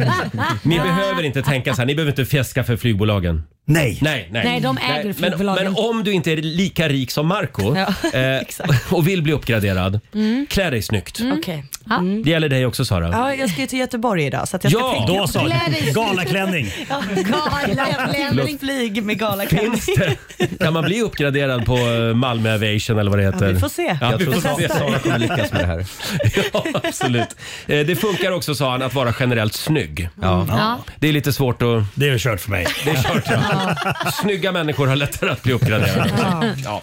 *laughs* Ni behöver inte tänka så här. Ni behöver inte fjäska för flygbolagen. Nej. Nej, nej. Nej, de äger men, flygbolagen. men om du inte är lika rik som Marco Ja, *laughs* eh, och vill bli uppgraderad, klä dig snyggt. Okej. Det gäller dig också Sara. Mm. Ja, jag ska ju till Göteborg idag så att jag ska Ja, tänka då på så. det. Galaklänning. Ja, Galaklänning. Förlåt. Flyg med galaklänning. *laughs* Kan man bli uppgraderad på eh, Malmö Aviation eller vad det heter? Ja, vi får se. Ja, Jag vi tror får Sara- se. Sara kommer lyckas med det här. *laughs* ja, absolut. Eh, Det funkar också sa han att vara generellt snygg. Ja. Det är lite svårt att... Det är kört för mig. Det är kört ja. Snygga människor har lättare att bli uppgraderade. Ja.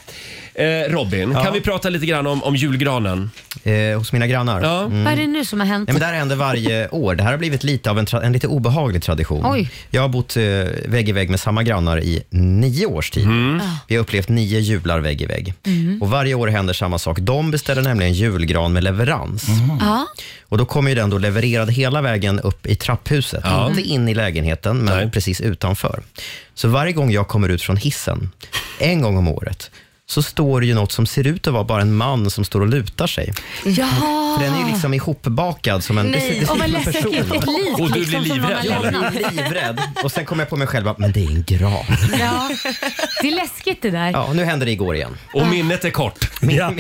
Eh, Robin, kan vi prata lite grann om, om julgranen? Eh, hos mina grannar? Ja. Mm. Vad är det nu som har hänt? Ja, men det här händer varje år. Det här har blivit lite av en, tra- en lite obehaglig tradition. Oj. Jag har bott eh, vägg i vägg med samma grannar i nio års tid. Mm. Vi har upplevt nio jular vägg i vägg. Mm. Mm. Och varje år händer samma sak. De beställer nämligen julgran med leverans. Mm. Ah, Ja. Och Då kommer ju den då levererad hela vägen upp i trapphuset. Inte in i lägenheten, men precis utanför. Så varje gång jag kommer ut från hissen, en gång om året, så står det ju något som ser ut att vara bara en man som står och lutar sig. Jaha! För den är ju liksom ihopbakad som en... det ser- det Ah. *laughs* Nej, ser och ut vad som en person. läskigt. Ett lik Och du liksom blir som någon livrädd, har Jag lämnat. blev livrädd och sen kom jag på mig själv att men det är en gran. Ja. Det är läskigt det *laughs* där. Ja, nu hände det igår igen. Och minnet *laughs* är kort. Ja. Ah,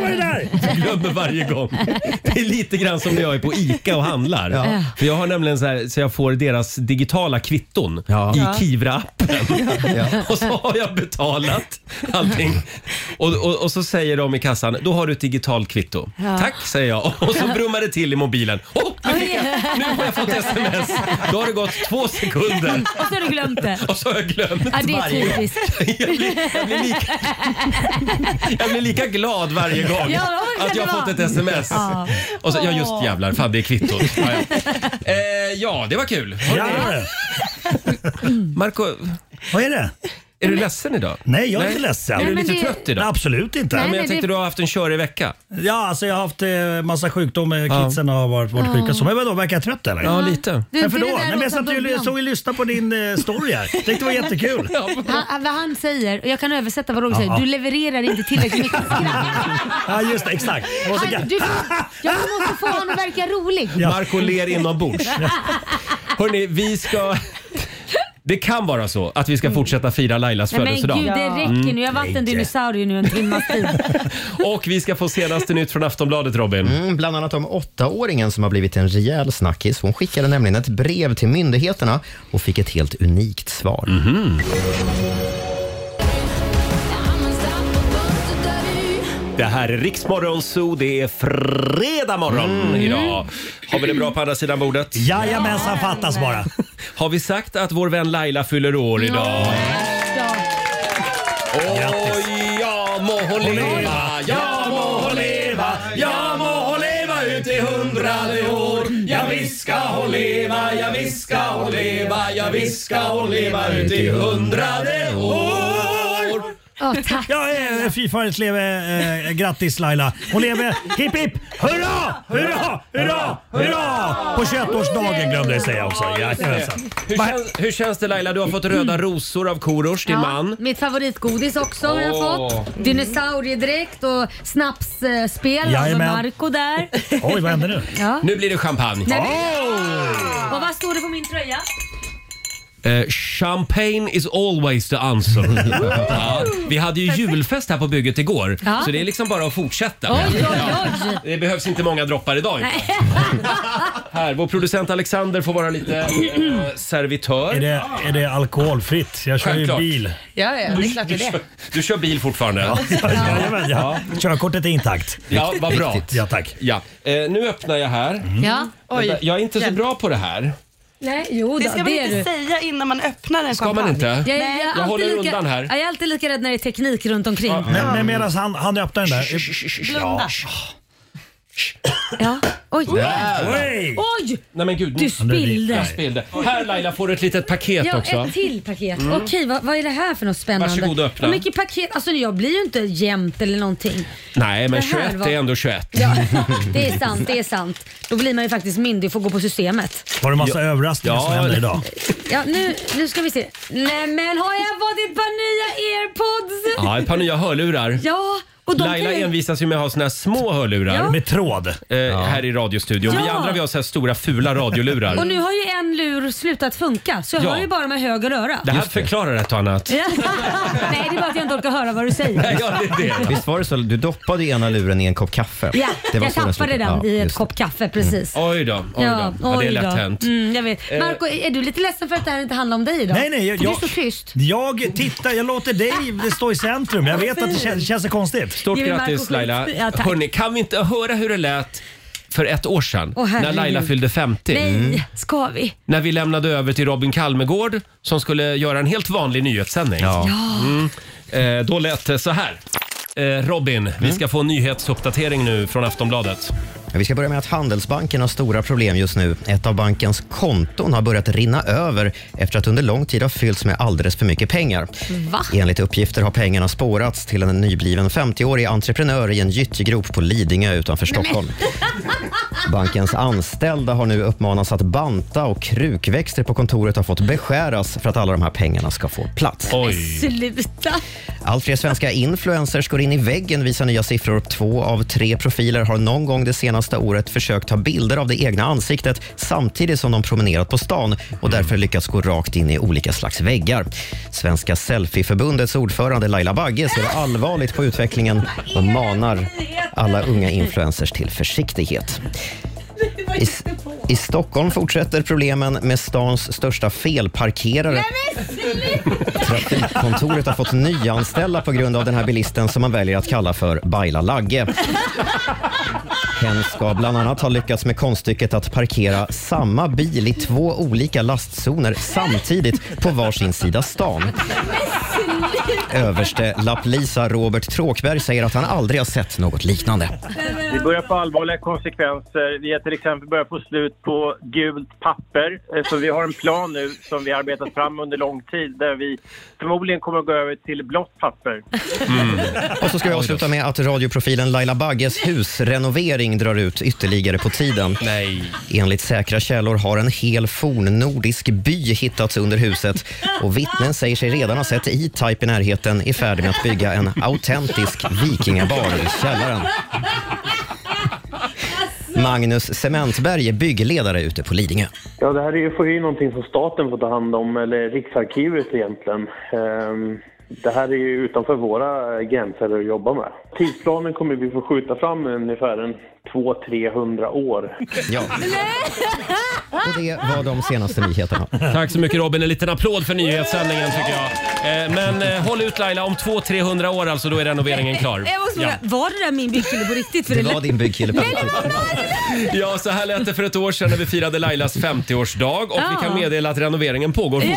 vad är det där? glömmer varje gång. Det är lite grann som när jag är på ICA och handlar. Ja. För jag har nämligen så, här, så jag får deras digitala kvitton Ja. i Kivra-appen. *laughs* Och så har jag betalat allting. Och, och, och så säger de i kassan, då har du ett digitalt kvitto. Tack, säger jag. Och så brummar det till i mobilen. Oh, nu, fick jag, nu har jag fått sms. Då har det gått två sekunder Och så har du glömt det. och så har jag glömt. Ja, det är Varje gång. typiskt. *laughs* Jag blir, jag, blir lika, jag blir lika glad varje gång Ja, det kan att jag det har vara. fått ett sms. Ja. Och så, ja just jävlar, fan det är kvittot. Ja, *laughs* ja. Eh, ja, det var kul. Ja. Marco, Vad är det? är du ledsen idag? Nej, jag är inte ledsen. Är du men lite det- trött idag? Absolut inte. Nej, men men jag det- tänkte du har haft en körig vecka. Ja, alltså jag har haft eh, massa sjukdomar. Kidsen har varit, varit sjuka. Så, men vadå, verkar jag trött eller? Ja, lite. Du, Varför det då? är det där Nej, men jag låten satt ju början. såg och lyssnade på din eh, story här. Tyckte det *laughs* var jättekul. han, vad han säger, och jag kan översätta vad Roger säger, Ja. du levererar inte tillräckligt mycket skratt. Ja, just det. Exakt. Det var så Han, ga- du, jag måste få honom att verka rolig. Marco ler *laughs* inombords. Hörni, vi ska... Det kan vara så att vi ska fortsätta fira Lailas Nej, men födelsedag. Mm. gud, det räcker nu. Jag har varit en dinosaurie nu en timmas tid. Och vi ska få senaste nytt från Aftonbladet, Robin. Mm, bland annat om åttaåringen som har blivit en rejäl snackis. Hon skickade nämligen ett brev till myndigheterna och fick ett helt unikt svar. Mhm. *laughs* Det här är Riksmorgon Zoo. Det är fredag morgon Mm. idag. Har vi det bra på andra sidan bordet? Jajamensan, fattas bara. Har vi sagt att vår vän Laila fyller år idag? Grattis. Oj, ja må hon leva, ja må hon leva, ja må hon leva ut i hundrade år. Ja visst ska hon leva, ja visst ska hon leva, ja visst ska hon leva ut i hundrade år. Ja, tack. Ja, eh, fy farligt leve. Eh, grattis Laila. Hon lever. Hipp hipp. Hurra, hurra, hurra, hurra. På 21-årsdagen glömde jag säga också. Jajamensan. Hur, känns, hur känns det Laila? Du har fått röda rosor av Korosh, din Ja, man. Mitt favoritgodis också har jag Åh. fått. Dinosauriedräkt och snapsspel med Jajamän. Marco där. Oj, vad hände nu? *laughs* Ja. Nu blir det champagne. Nej, men- Och vad står det på min tröja? Eh, champagne is always *laughs* the answer. ja, vi hade ju julfest här på bygget igår, Ja. så det är liksom bara att fortsätta. Oj, oj, oj. Det behövs inte många droppar idag. inte. här, vår producent Alexander får vara lite eh, servitör. Är det, är det alkoholfritt? Jag kör ju Självklart. bil. Ja, ja, det är klart det Du, är det. kör, du kör bil fortfarande? Ja, Jajamän, ja. Körkortet är intakt. ja vad bra. Viktigt. Ja, tack. Ja. Eh, nu öppnar jag här. Ja. Mm. Oj. Jag är inte så bra på det här. Nej, jo då, Det ska man är inte du. säga innan man öppnar en Ska man champagne. inte? Jag, Nej. är Jag alltid håller lika, undan här. Jag är alltid lika rädd när det är teknik runt omkring. Men, men medan han, han öppnar den där. Blunda. Ja. Oj. Där. Oj! Nej men gud, Du spillde. Jag spillde. Här Laila får du ett litet paket Ja, också. ett till paket. Mm. Okej, vad, vad är det här för något spännande? Varsågod och öppna. Hur mycket paket? Alltså jag blir ju inte jämnt eller någonting. Nej men Det här 21 var- är ändå 21. Ja, *laughs* det är sant, det är sant. Då blir man ju faktiskt myndig och får gå på systemet. Var det massa överraskningar som hände idag? Ja, nu, nu ska vi se. Nej men har jag fått ett par nya airpods? Ja, ett par nya hörlurar. Ja, och de Laila kan ju... envisas ju med att ha såna här små hörlurar. Ja. Med tråd. Eh, Här i radiostudion. Vi Ja. andra vi har så här stora fula radiolurar. Och nu har ju en lur slutat funka så jag Ja. har ju bara med höger öra. Det här förklarar ett och annat. Ja. *laughs* Nej, det är bara att jag inte orkar höra vad du säger. Visst var det så? Du doppade ju ena luren i en kopp kaffe. Ja, Det var jag så den tappade den, slutade. Ja, i ett just kopp kaffe precis. Oj då, Mm. oj då. Ja, det är oj då. lätt hänt. Mm, jag vet. Eh. Marco, är du lite ledsen för att det här inte handlar om dig idag? Nej, nej, jag- För du är jag- så tyst. Jag tittar, jag låter dig stå i centrum. Jag vet att det känns, känns så konstigt. Stort grattis Laila. Hörni, kan vi inte höra hur det lät för ett år sedan Åh, herregud. när Laila fyllde 50? Nej, Mm. ska vi? När vi lämnade över till Robin Kalmegård som skulle göra en helt vanlig nyhetssändning. Ja. Mm. Eh, då lät det så här. Eh, Robin, vi ska få en nyhetsuppdatering nu från Aftonbladet. Ja, Vi ska börja med att Handelsbanken har stora problem just nu. Ett av bankens konton har börjat rinna över efter att under lång tid ha fyllts med alldeles för mycket pengar. Va? Enligt uppgifter har pengarna spårats till en nybliven 50-årig entreprenör i en gyttjegrop på Lidingö utanför Stockholm. Bankens anställda har nu uppmanats att banta och krukväxter på kontoret har fått beskäras för att alla de här pengarna ska få plats. Sluta. Allt fler svenska influencers går in i väggen visar nya siffror. Två av tre profiler har någon gång det senaste året försökt ta bilder av det egna ansiktet samtidigt som de promenerat på stan och därför lyckats gå rakt in i olika slags väggar. Svenska Selfieförbundets ordförande Laila Bagge ser allvarligt på utvecklingen och manar alla unga influencers till försiktighet. I, I Stockholm fortsätter problemen med stans största felparkerare. Trafikkontoret har fått nyanställa på grund av den här bilisten som man väljer att kalla för Baila Lagge. Hen ska bland annat ha lyckats med konststycket att parkera samma bil i två olika lastzoner samtidigt på varsin sida stan. Överste Lapplisa Robert Tråkberg säger att han aldrig har sett något liknande. Vi börjar få allvarliga konsekvenser. eh, Vi har till exempel börjat få slut på gult papper. Eh, Så vi har en plan nu som vi arbetat fram under lång tid där vi förmodligen kommer att gå över till blått papper. Mm. Och så ska vi avsluta med att radioprofilen Laila Bagges husrenovering drar ut ytterligare på tiden. Nej. Enligt säkra källor har en hel fornnordisk by hittats under huset och vittnen säger sig redan ha sett E-Type i närheten i färd med att bygga en autentisk vikingabar i källaren. Magnus Cementberg är byggledare ute på Lidingö. Ja, det här är ju, får ju någonting som staten får ta hand om, eller Riksarkivet egentligen. Ehm, Det här är ju utanför våra gränser att jobba med. Tidsplanen kommer vi få skjuta fram ungefär en 200-300 år. *laughs* Ja. Och det var de senaste nyheterna. Mm. Tack så mycket Robin. En liten applåd för nyhetssändningen tycker jag. Eh, Men eh, håll ut Laila, om 200-300 år alltså då är renoveringen klar. Jag måste Ja. fråga, Var det där min byggkille på riktigt? För Det lät- var din byggkille på Nej, det var Ja, så här lät det för ett år sedan när vi firade Lailas 50-årsdag och vi Ja. kan meddela att renoveringen pågår Ja,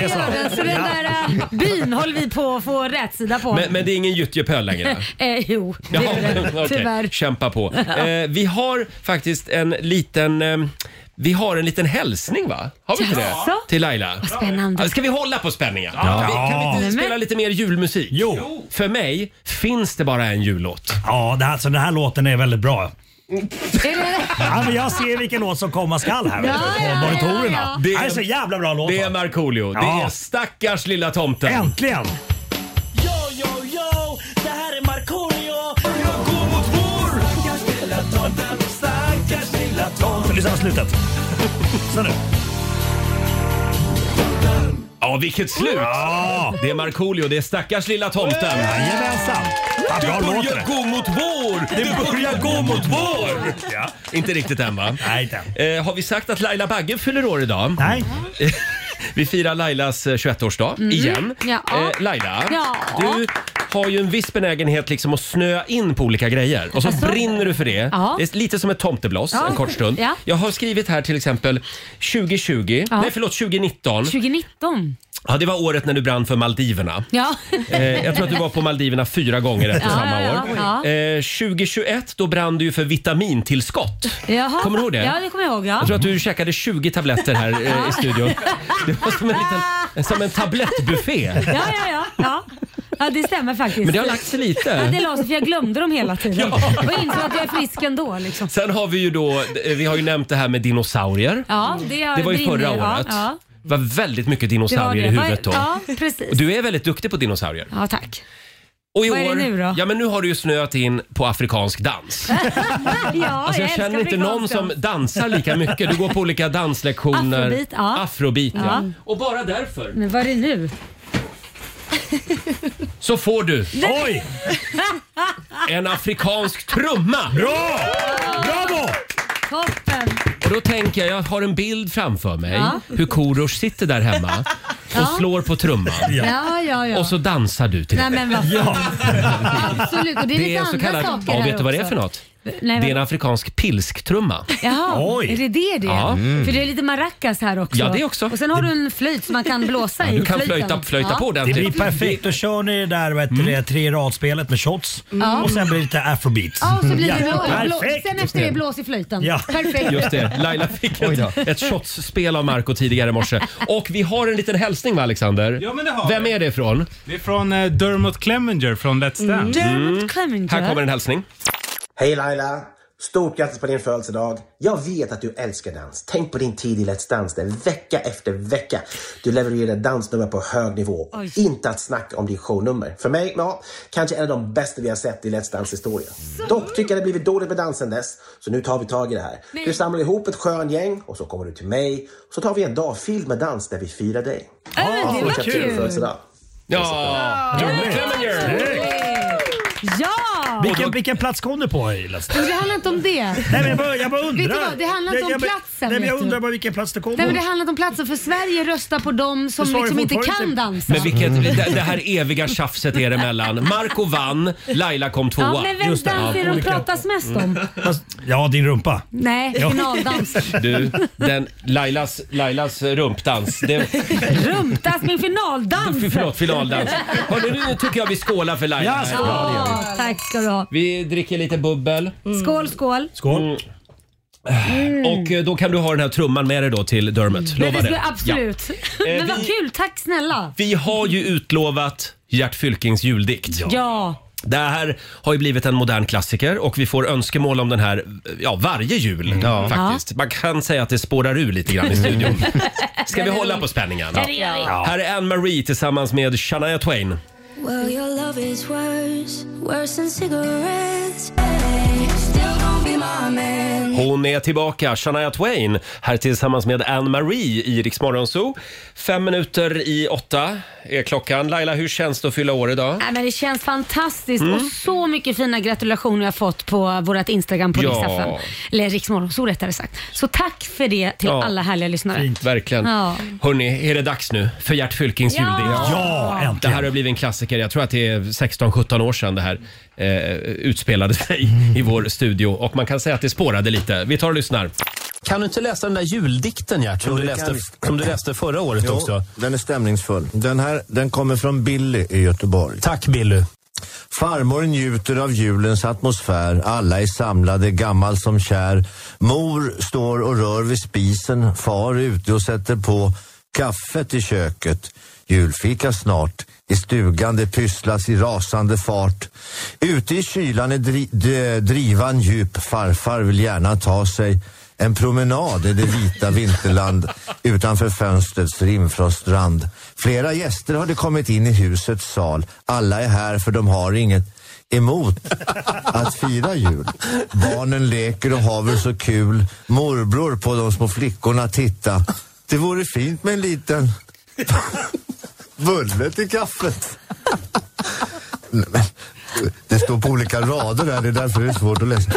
det gör den. Så den där äh, byn håller vi på att få rätt sida på. Men, men det är ingen gyttjepöl längre? *laughs* eh, jo, det *laughs* Ja, är det. okej. Tyvärr. Kämpa på. Ja. Eh, vi har faktiskt en liten... Eh, vi har en liten hälsning va? Har vi inte det? Jaså? Till Laila. Vad spännande. Ja, Ska vi hålla på spänningen? Ja. Kan, vi, kan vi Nej, inte men- spela lite mer julmusik? Jo. För mig finns det bara en jullåt. Ja, det här, så den här låten är väldigt bra. Är det- Ja, men jag ser vilken låt som komma skall här. Ja, ja, på monitorerna. Det här är så jävla bra låt. Det är Markoolio. Det Ja. är stackars lilla tomten. Äntligen! Yo, yo, yo, det här är Markoolio. Jag går mot vår. Stackars lilla tomten, stackars lilla Så tomten. lyssna på slutet. Så nu. Ja, vilket slut! Det är Markoolio, det är stackars lilla tomten. Jajamensan! Det bra låt det. börjar gå mot vår! Det börjar gå mot vår! Ja. Inte riktigt än va? Nej, inte. Eh, har vi sagt att Laila Bagge fyller år idag? Nej. *laughs* vi firar Lailas eh, 21-årsdag Mm. igen. Ja. Eh, Laila, Ja. du har ju en viss benägenhet liksom att snöa in på olika grejer och så Alltså? brinner du för det. Ja. Det är lite som ett tomteblås Ja. en kort stund. Ja. Jag har skrivit här till exempel 2020, nej förlåt 2019. 2019. Ja, det var året när du brann för Maldiverna. Ja. Eh, jag tror att du var på Maldiverna fyra gånger efter Ja, samma ja, år. ja. Eh, 2021 då brann du ju för vitamintillskott. Jaha. Kommer du ihåg det? Ja, det kommer jag ihåg. Ja. Jag tror att du käkade 20 tabletter här eh, i *laughs* studion. Det var som en, liten, som en tablettbuffé. Ja, ja, ja. ja. Ja, det stämmer faktiskt. Men det har lagt sig lite. Ja, det la sig för jag glömde dem hela tiden. Och insåg att jag är frisk ändå. Liksom. Sen har vi ju då, eh, vi har ju nämnt det här med dinosaurier. Ja, det, har Det var ju brinner- förra ja, året. Ja, Det var väldigt mycket det var dinosaurier det. i huvudet då. Ja, precis. Och du är väldigt duktig på dinosaurier. Ja, tack. Och i Vad är det år, nu *laughs* då? Ja, men nu har du ju snöat in på afrikansk dans. ja, alltså, jag, älskar känner inte någon afrikanska. som dansar lika mycket. Du går på olika danslektioner. Afrobeat, ja. Afrobeat, ja. Ja. Och bara därför Men vad är det nu? *laughs* så får du Oj! en afrikansk trumma! Bra! Bravo! Toppen! Och då tänker jag, jag har en bild framför mig Ja. hur Korosh sitter *laughs* där hemma och Ja. slår på trumman. Ja, ja, ja. Och så dansar du till Nej den. men vad *laughs* fan. Absolut, och det är lite en andra saker ja, här vet du vad det är också. för något? Nej, det vad- är en afrikansk pilsktrumma. Jaha, är det det det? Ja. Mm. För det är lite maracas här också. Ja, det också. Och sen har du en flöjt som man kan blåsa i. du kan flöjten. flöjta- flöjta ja. på den. Mm. Det blir Ordentligt. perfekt. Då kör ni det där vad heter det, tre radspelet med shots Mm. och sen blir det lite Mm. afrobeat. Ja, och så blir det blå, blå, Perfekt! Sen efter det blås i flöjten. Ja. Perfekt. Just det, Laila fick ett, ett shotsspel av Marco tidigare i morse. Och vi har en liten hälsning va Alexander? Ja, men det har Vem vi. är det ifrån? Det är från eh, Dermot Clemenger från Let's Dance. Mm. Clemenger. Här kommer en hälsning. Hej Laila! Stort grattis på din födelsedag. Jag vet att du älskar dans. Tänk på din tid i Let's Dance där vecka efter vecka. Du levererar dansnummer på hög nivå. Oj. Inte att snacka om din shownummer. För mig, ja, kanske en av de bästa vi har sett i Let's Dance historia. Dock tycker jag det blivit dåligt med dansen dess, så nu tar vi tag i det här. Nej. Du samlar ihop ett skön gäng och så kommer du till mig. Så tar vi en dag fylld med dans där vi firar dig. Ah, Ja, men det var Fortsätt din kul. födelsedag. Ja! Dermot Clemenger! Ja! Vilken, vilken plats kom du på i Let's Men Dance? det handlar inte om det. Nej, men jag, bara, jag bara undrar. Vet du vad, det handlar inte Jag- om jag, bara- platsen, Nej, men jag vet du. undrar bara vilken plats det kom Nej, men det på. handlar inte om platsen för Sverige röstar på de som Du sa det liksom inte fortfarande kan inte. dansa. Men Mm. vilket, det, det här eviga tjafset er emellan. Marco vann, Laila kom tvåa. Ja, men vem Just det. dans är det de pratas mest om? Fast- Ja, din rumpa. Nej, Ja. *laughs* finaldans. Du, den Lailas, Lailas rumpdans. Det, Rumtas, min finaldans! förlåt, finaldans. Hörni, nu tycker jag vi skålar för Laila. här. Ja, tack ska du ha. Vi dricker lite bubbel. Skål, skål. Skål. Och eh, då kan du ha den här trumman med dig då till Dermot. Men Lova Mm. det det. skulle jag Ja. absolut. *laughs* Eh, Men vad vi- kul, tack snälla. Vi har ju utlovat Gert Fylkings juldikt. Ja. Det här har ju blivit en modern klassiker och vi får önskemål om den här ja, varje jul. faktiskt. Man kan säga att det spårar ur lite grann *laughs* i *laughs* studion. Ska vi hålla på spänningen? Ja, det gör vi. Här är Anne Marie tillsammans med Shania Twain. Well, your love is worse, worse than cigarettes. Hey, still don't be my man. Hon är tillbaka, Shania Twain, här tillsammans med Anne Marie i Rix Morgon Zoo. Fem minuter i åtta är klockan. Laila, hur känns det att fylla år idag? Nej, men det känns fantastiskt och Mm. så mycket fina gratulationer jag fått på vårt Instagram på Ja. Riks-FM. Eller Riksmorgon, så rättare sagt. Så tack för det till Ja. alla härliga lyssnare. Verkligen. Ja. Hörni, är det dags nu för Gert Fylkings Ja! juldikt? Ja, Det äntligen. här har blivit en klassiker. Jag tror att det är 16-17 år sedan det här eh, utspelade sig Mm. i vår studio. Och man kan säga att det spårade lite. Vi tar och lyssnar. Kan du inte läsa den där juldikten, Gert, som, du läste, som du läste förra året också? Den är stämningsfull. Den här den kommer från Billy i Göteborg. Tack Billy. Farmor njuter av julens atmosfär. Alla är samlade, gammal som kär. Mor står och rör vid spisen. Far är ute och sätter på kaffet i köket. Julfika snart. I stugan det pysslas i rasande fart. Ute i kylan är dri- d- drivan djup. Farfar vill gärna ta sig en promenad i det vita vinterland utanför fönstrets rimfroststrand. Flera gäster hade kommit in i husets sal. Alla är här för de har inget emot att fira jul. Barnen leker och haver så kul. Morbror på de små flickorna titta. Det vore fint med en liten bulle till kaffet. Nej, men, Det står på olika rader där, det är därför det är svårt att läsa.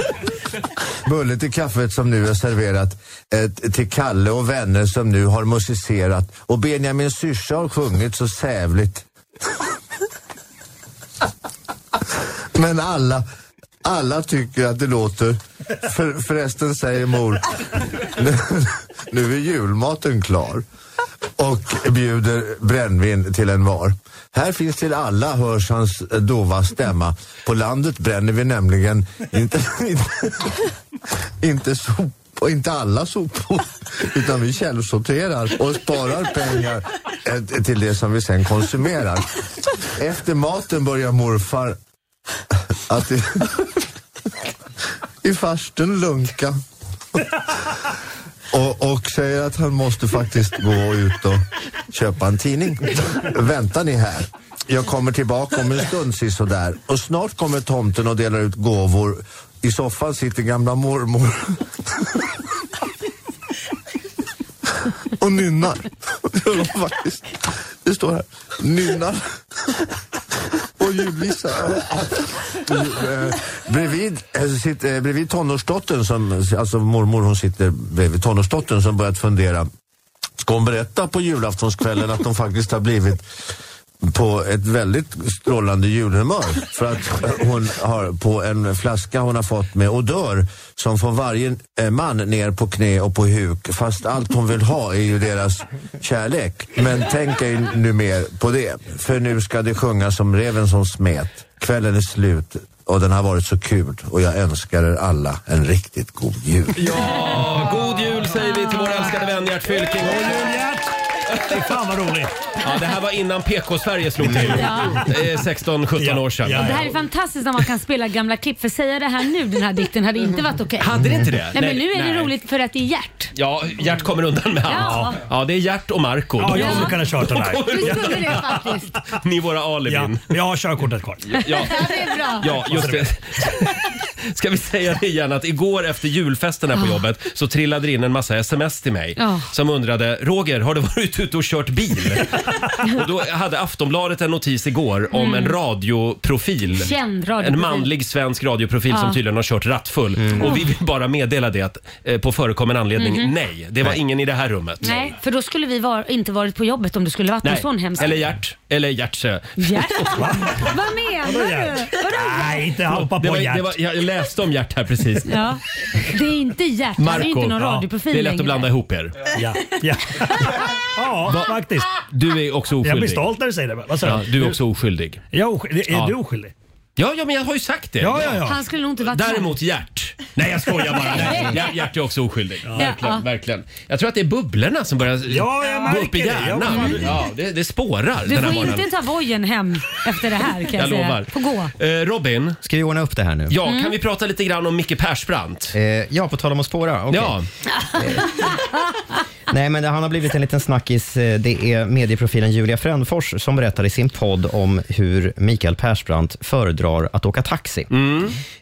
Bulle till kaffet som nu är serverat eh, till Kalle och vänner som nu har musicerat och Benjamins syrsa har sjungit så sävligt. Men alla, alla tycker att det låter... För, förresten säger mor, nu, nu är julmaten klar. och bjuder brännvin till en var. Här finns till alla hörs hans dova stämma. På landet bränner vi nämligen inte, inte, inte sopor, inte alla sopor, utan vi källsorterar och sparar pengar eh, till det som vi sen konsumerar. Efter maten börjar morfar att i, i farstun lunka. Och, och säger att han måste faktiskt gå ut och köpa en tidning. Väntar ni här? Jag kommer tillbaka om en stund sisådär. Och snart kommer tomten och delar ut gåvor. I soffan sitter gamla mormor. och nynnar. Det gör de faktiskt. Det står här. Nynnar. Och julvisa. Eh, bredvid, eh, sitter, eh, bredvid tonårsdottern, som, alltså mormor hon sitter bredvid tonårsdottern som börjat fundera. Ska hon berätta på julaftonskvällen att de faktiskt har blivit på ett väldigt strålande julhumör för att eh, hon har på en flaska hon har fått med odör som får varje eh, man ner på knä och på huk fast allt hon vill ha är ju deras kärlek. Men tänk ej nu mer på det för nu ska det sjunga som reven som smet. Kvällen är slut och den har varit så kul och jag önskar er alla en riktigt god jul. Ja, god jul säger vi till vår älskade vän Gert Fylking. God jul Gert! Fan vad roligt! Ja, det här var innan PK-Sverige slog till. Ja. Eh, 16-17 år sedan. Och det här är fantastiskt när man kan spela gamla klipp för säga det här nu, den här dikten, hade inte varit okej. Hade det inte det? Nej, Nej, men nu är nej. det roligt för att det är Gert. Ja, Gert kommer undan med allt. Ja. Ja. det är Gert och Marco Ja, jag skulle kunna köra den här. De kommer Du undan. skulle *laughs* det faktiskt. Ni är våra alibin. Ja, jag har körkortet kvar. Ja, Ja, det är bra. ja just det. *laughs* Ska vi säga det igen att igår efter julfesten här på Ah. jobbet så trillade det in en massa sms till mig Ja. som undrade “Roger, har du varit ute och *laughs* kört bil?” Och då hade Aftonbladet en notis igår om Mm. en radioprofil. Känd radioprofil. Ah. En manlig svensk radioprofil som Ja. tydligen har kört rattfull. Och vi vill bara meddela det att, eh, på förekommen anledning, Mhm. nej, det var Nej. ingen i det här rummet. Nej, för då skulle vi var, inte varit på jobbet om du skulle varit en sån hemsk... Eller Gert. eh. Eller Gertse. Gert? *laughs* Vad menar du? Nej, inte hoppa det på var, Gert. Det var, jag läste om Gert här precis. Ja. Det är inte Gert, han är ju inte någon radioprofil det är lätt längre. att blanda ihop er. Ja, ja. ja faktiskt. Du är också oskyldig. Jag blir stolt när du säger det. Vad sa Ja, du? du är också oskyldig. Jag är oskyldig. Är Ja. du oskyldig? Ja, ja, men jag har ju sagt det. Ja, ja, ja. Han skulle nog inte varit Däremot Gert. Nej, jag skojar bara. Nej, *laughs* Gert- Gert är också oskyldig. Verkligen, Ja. verkligen. Jag tror att det är bubblorna som börjar Ja, jag gå märker upp i det. Jag hjärnan. märker det. Ja, det, det spårar Du den här får morgonen. inte ta vojen hem efter det här kan jag, Jag säga. lovar. Får gå. Eh, Robin. Ska vi ordna upp det här nu? Ja, Mm. kan vi prata lite grann om Micke Persbrandt? Eh, ja, på tal om att spåra. okej. Ja. *laughs* Nej, men det, han har blivit en liten snackis. Eh, Det är medieprofilen Julia Frändfors som berättar i sin podd om hur Mikael Persbrandt föredrar att åka taxi.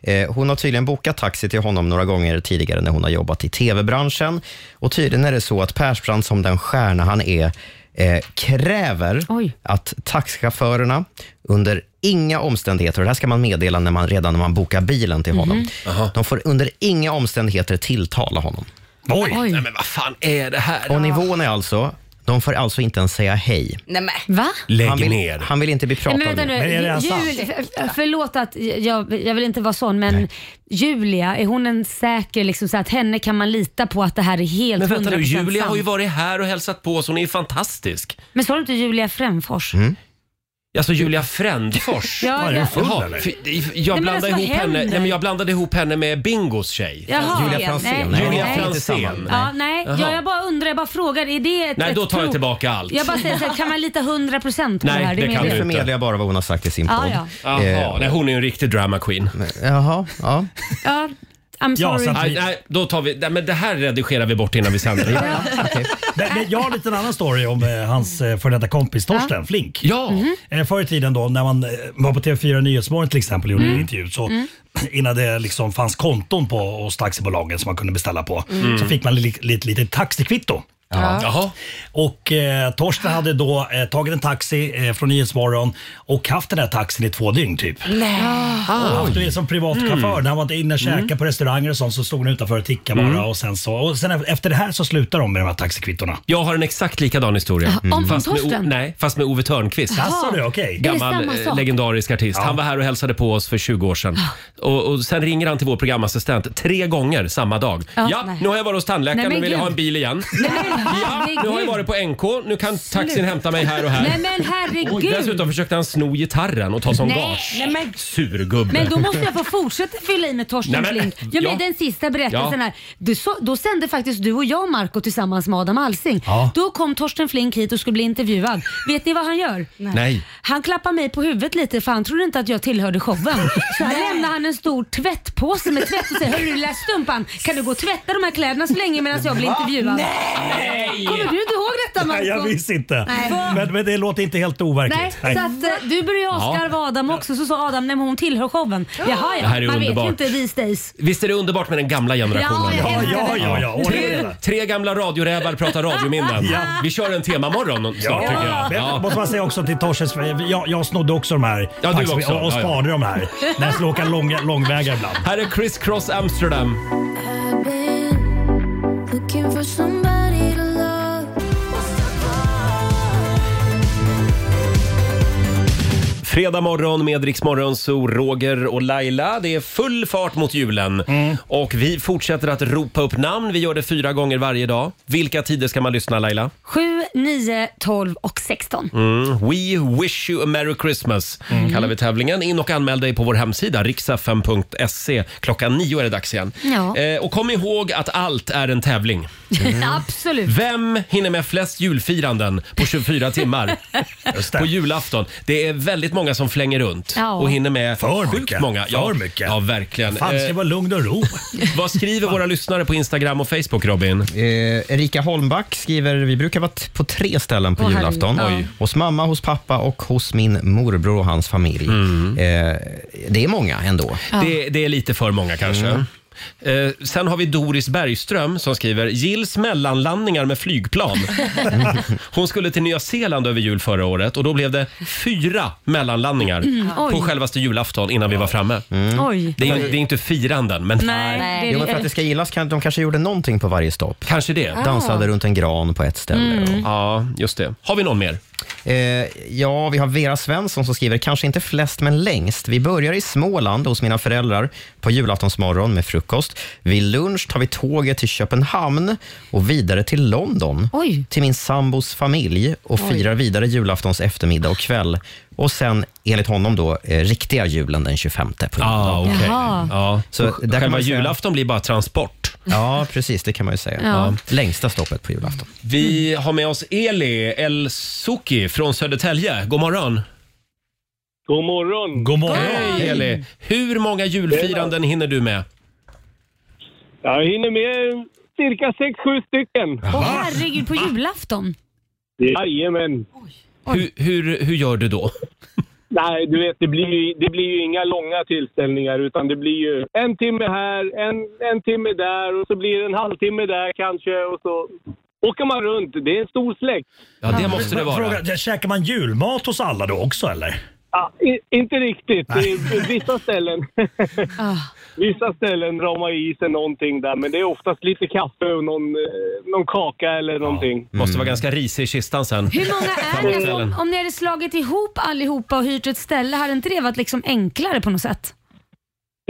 Eh, Hon har tydligen bokat taxi till honom några gånger tidigare när hon har jobbat i tv-branschen. Och tydligen är det så att Persbrandt, som den stjärna han är, eh, kräver att taxichaufförerna under inga omständigheter, och det här ska man meddela när man, redan när man bokar bilen till honom, Mhm. de får under inga omständigheter tilltala honom. Oj. Nej, men vad fan är det här? Och nivån är alltså, de får alltså inte ens säga hej. Nej, men. Va? han vill, Han vill inte bli Nej, pratad men vänta nu. Jul, för- förlåt att jag, jag vill inte vara sån men Julia, är hon en säker liksom så att henne kan man lita på att det här är helt Men vänta 100% nu, Julia sant? har ju varit här och hälsat på oss. Hon är ju fantastisk. Men sa du inte Julia Fränfors? Mm. Alltså Julia Frändfors. Ja, Var ja. den full, Jaha, eller? för- men jag, blandade alltså, vad ihop henne, händer? nej, men jag blandade ihop henne med Bingos tjej. Jaha. Julia Franzén. Nej. Julia Nej. Franzén. Ja, nej, Jaha. jag, jag bara undrar, jag bara frågar. Är det ett, Nej, då ett tar jag prov? tillbaka allt. Jag bara säger så här, kan man lita 100% på det här? är Nu meningen. förmedlar jag bara vad hon har sagt i sin Ja, podd. ja. Jaha, Eh, nej, hon är ju en riktig drama queen. Jaha, ja. Ja, I'm sorry. nej, nej, då tar vi, nej, men det här redigerar vi bort innan vi sänder. Men, men jag har en liten annan story om eh, hans eh, före detta kompis Torsten Flink. Ja. Eh, förr i tiden då när man eh, var på TV4 Nyhetsmorgon till exempel och gjorde Mm. en intervju så *clears throat* innan det liksom fanns konton på hos taxibolagen som man kunde beställa på Mm. så fick man li- li- lite litet taxikvitto. Ja. Jaha. Och eh, Torsten hade då eh, tagit en taxi eh, från Nyhetsmorgon och haft den här taxin i två dygyn typ. Nej. Ah, du vet, som privatchaufför, Mm. när han var inne och käkade på restauranger och sånt så stod han utanför och tickade bara. Mm. Och sen så, och sen efter det här så slutar de med de här taxikvittona. Jag har en exakt likadan historia. Mm. Ja, om fast, med, O- Torsten? nej, fast med Ove Törnqvist. Jaha. Jaså, du, okej. Är det Gammal samma eh, sak? legendarisk artist. Han var här och hälsade på oss för 20 år sedan. Och, och sen ringer han till vår programassistent tre gånger samma dag. Ja, Ja, nej. nu har jag varit hos tandläkaren Nej, och men vill jag gud. ha en bil igen. Nej, men- Ja, nu har jag varit på NK. Nu kan taxin hämta mig här och här. Nej men herregud. Dessutom försökte han sno gitarren och ta som Nej, gage. nej, men- Surgubbe. Men då måste jag få fortsätta fylla i med Torsten Nej, men- Flink. Ja, men ja. Den sista berättelsen Ja. här. Du, så, då sände faktiskt du och jag Marco tillsammans med Adam Alsing. Ja. Då kom Torsten Flink hit och skulle bli intervjuad. Vet ni vad han gör? Nej. Han klappar mig på huvudet lite för han trodde inte att jag tillhörde *laughs* showen. Så här lämnar han en stor tvättpåse med tvätt och säger Hörru lilla stumpan, kan du gå och tvätta de här kläderna så länge medan jag blir Va? intervjuad? Nej! Kommer du inte ihåg detta Marco? Nej, jag visste inte. Nej. Men, men det låter inte helt Nej, overkligt. så att eh, du började avskarva Adam också så sa Adam nej men hon tillhör showen. Jaha Det här är ja, man vet ju underbart. inte these days. Visst är det underbart med den gamla generationen? Ja, jag älskar Ja, det. ja, ja, ordning och Tre, reda. tre gamla radiorävar pratar radiominnen. Ja. Vi kör en temamorgon snart Ja, tycker jag. Men måste man säga också till Torsens, jag, jag snodde också de här Ja, du Pax- också. och, och Ja, ja. sparade de här när jag skulle åka lång, långväga ibland. Här är Chris Cross Amsterdam. Fredag morgon med Rix Morgon, så Roger och Laila. Det är full fart mot julen. Och vi fortsätter att ropa upp namn. Vi gör det fyra gånger varje dag. Vilka tider ska man lyssna Laila? 7, 9, 12 och 16. Mm. We wish you a merry Christmas Mm. kallar vi tävlingen. In och anmäl dig på vår hemsida riksfm.se. Klockan nio är det dags igen. Ja. Eh, och kom ihåg att allt är en tävling. Absolut. Vem hinner med flest julfiranden på 24 timmar på julafton? Det är väldigt många som flänger runt Ja. och hinner med För sjukt mycket. många. För mycket. Ja, verkligen. Fan, det ska Eh, vara lugn och ro. *laughs* vad skriver våra lyssnare på Instagram och Facebook, Robin? Eh, Erika Holmback skriver, vi brukar vara t- på tre ställen på Åh, julafton. herregud. Oj. Hos mamma, hos pappa och hos min morbror och hans familj. Mm. Eh, det är många ändå. Det, det är lite för många kanske. Mm. Eh, sen har vi Doris Bergström som skriver “Gills mellanlandningar *laughs* med flygplan”. Hon skulle till Nya Zeeland över jul förra året och då blev det fyra mellanlandningar Mm, oj. på självaste julafton innan vi var framme. Oj. Det, är, det är inte firanden, men... Nej, Nej. det är Jo, Mm. men det. för att det ska gillas, kan, de kanske gjorde någonting på varje stopp. Kanske det. Ah. Dansade runt en gran på ett ställe. Mm. Ja, just det. Har vi någon mer? Eh, ja, vi har Vera Svensson som skriver, kanske inte flest men längst. Vi börjar i Småland hos mina föräldrar på julaftonsmorgon med frukost. Vid lunch tar vi tåget till Köpenhamn och vidare till London. Till min sambos familj och Oj. firar vidare julaftons eftermiddag och kväll. Och sen, enligt honom då, eh, riktiga julen den 25 på Ah, juldagen. okej. Jaha. Ja. Så där Så kan själva man säga- julafton blir bara transport. Ja, precis. Det kan man ju säga. Ja. Ja. Längsta stoppet på julafton. Vi har med oss Eli El Suki från Södertälje. God morgon! God morgon! God morgon! Hej Eli! Hur många julfiranden hinner du med? Jag hinner med cirka sex, sju stycken. Åh herregud, på julafton? Jajamän. Hur, hur, hur gör du då? *laughs* Nej, du vet, det blir, ju, det blir ju inga långa tillställningar utan det blir ju en timme här, en, en timme där och så blir det en halvtimme där kanske och så åker man runt. Det är en stor släkt. Men Fråga, käkar man julmat hos alla då också eller? Ja, i, inte riktigt. Det är- *laughs* Vissa ställen, Ah. vissa ställen drar man i sig någonting där men det är oftast lite kaffe och någon, eh, någon kaka eller någonting. Måste vara ganska risig i kistan sen. Hur många är ni? Om, om ni hade slagit ihop allihopa och hyrt ett ställe, hade inte det varit liksom enklare på något sätt?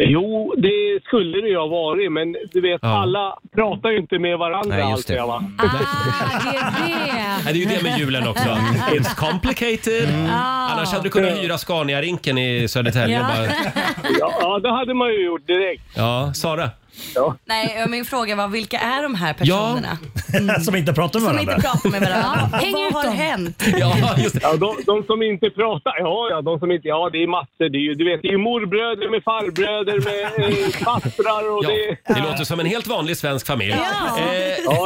Jo, det skulle det ju ha varit, men du vet, alla pratar ju inte med varandra Nej, just det. alltid. Va? Nej, Det är ju det med julen också. Mm. It's complicated. Mm. Ah. Annars hade du kunnat hyra Scania-rinken i Södertälje. Ja. Bara, Ja, det hade man ju gjort direkt. ja, Sara? *laughs* Nej, min fråga var vilka är de här personerna? Mm. Som inte pratar med Som varandra? inte pratar med varandra. Ja, Vad har hänt? Ja, de, de som inte pratar, ja, ja, de som inte, ja, det är massor. Det är ju, du vet, det är ju morbröder med farbröder med eh, fastrar och Ja, det... det låter som en helt vanlig svensk familj. Ja.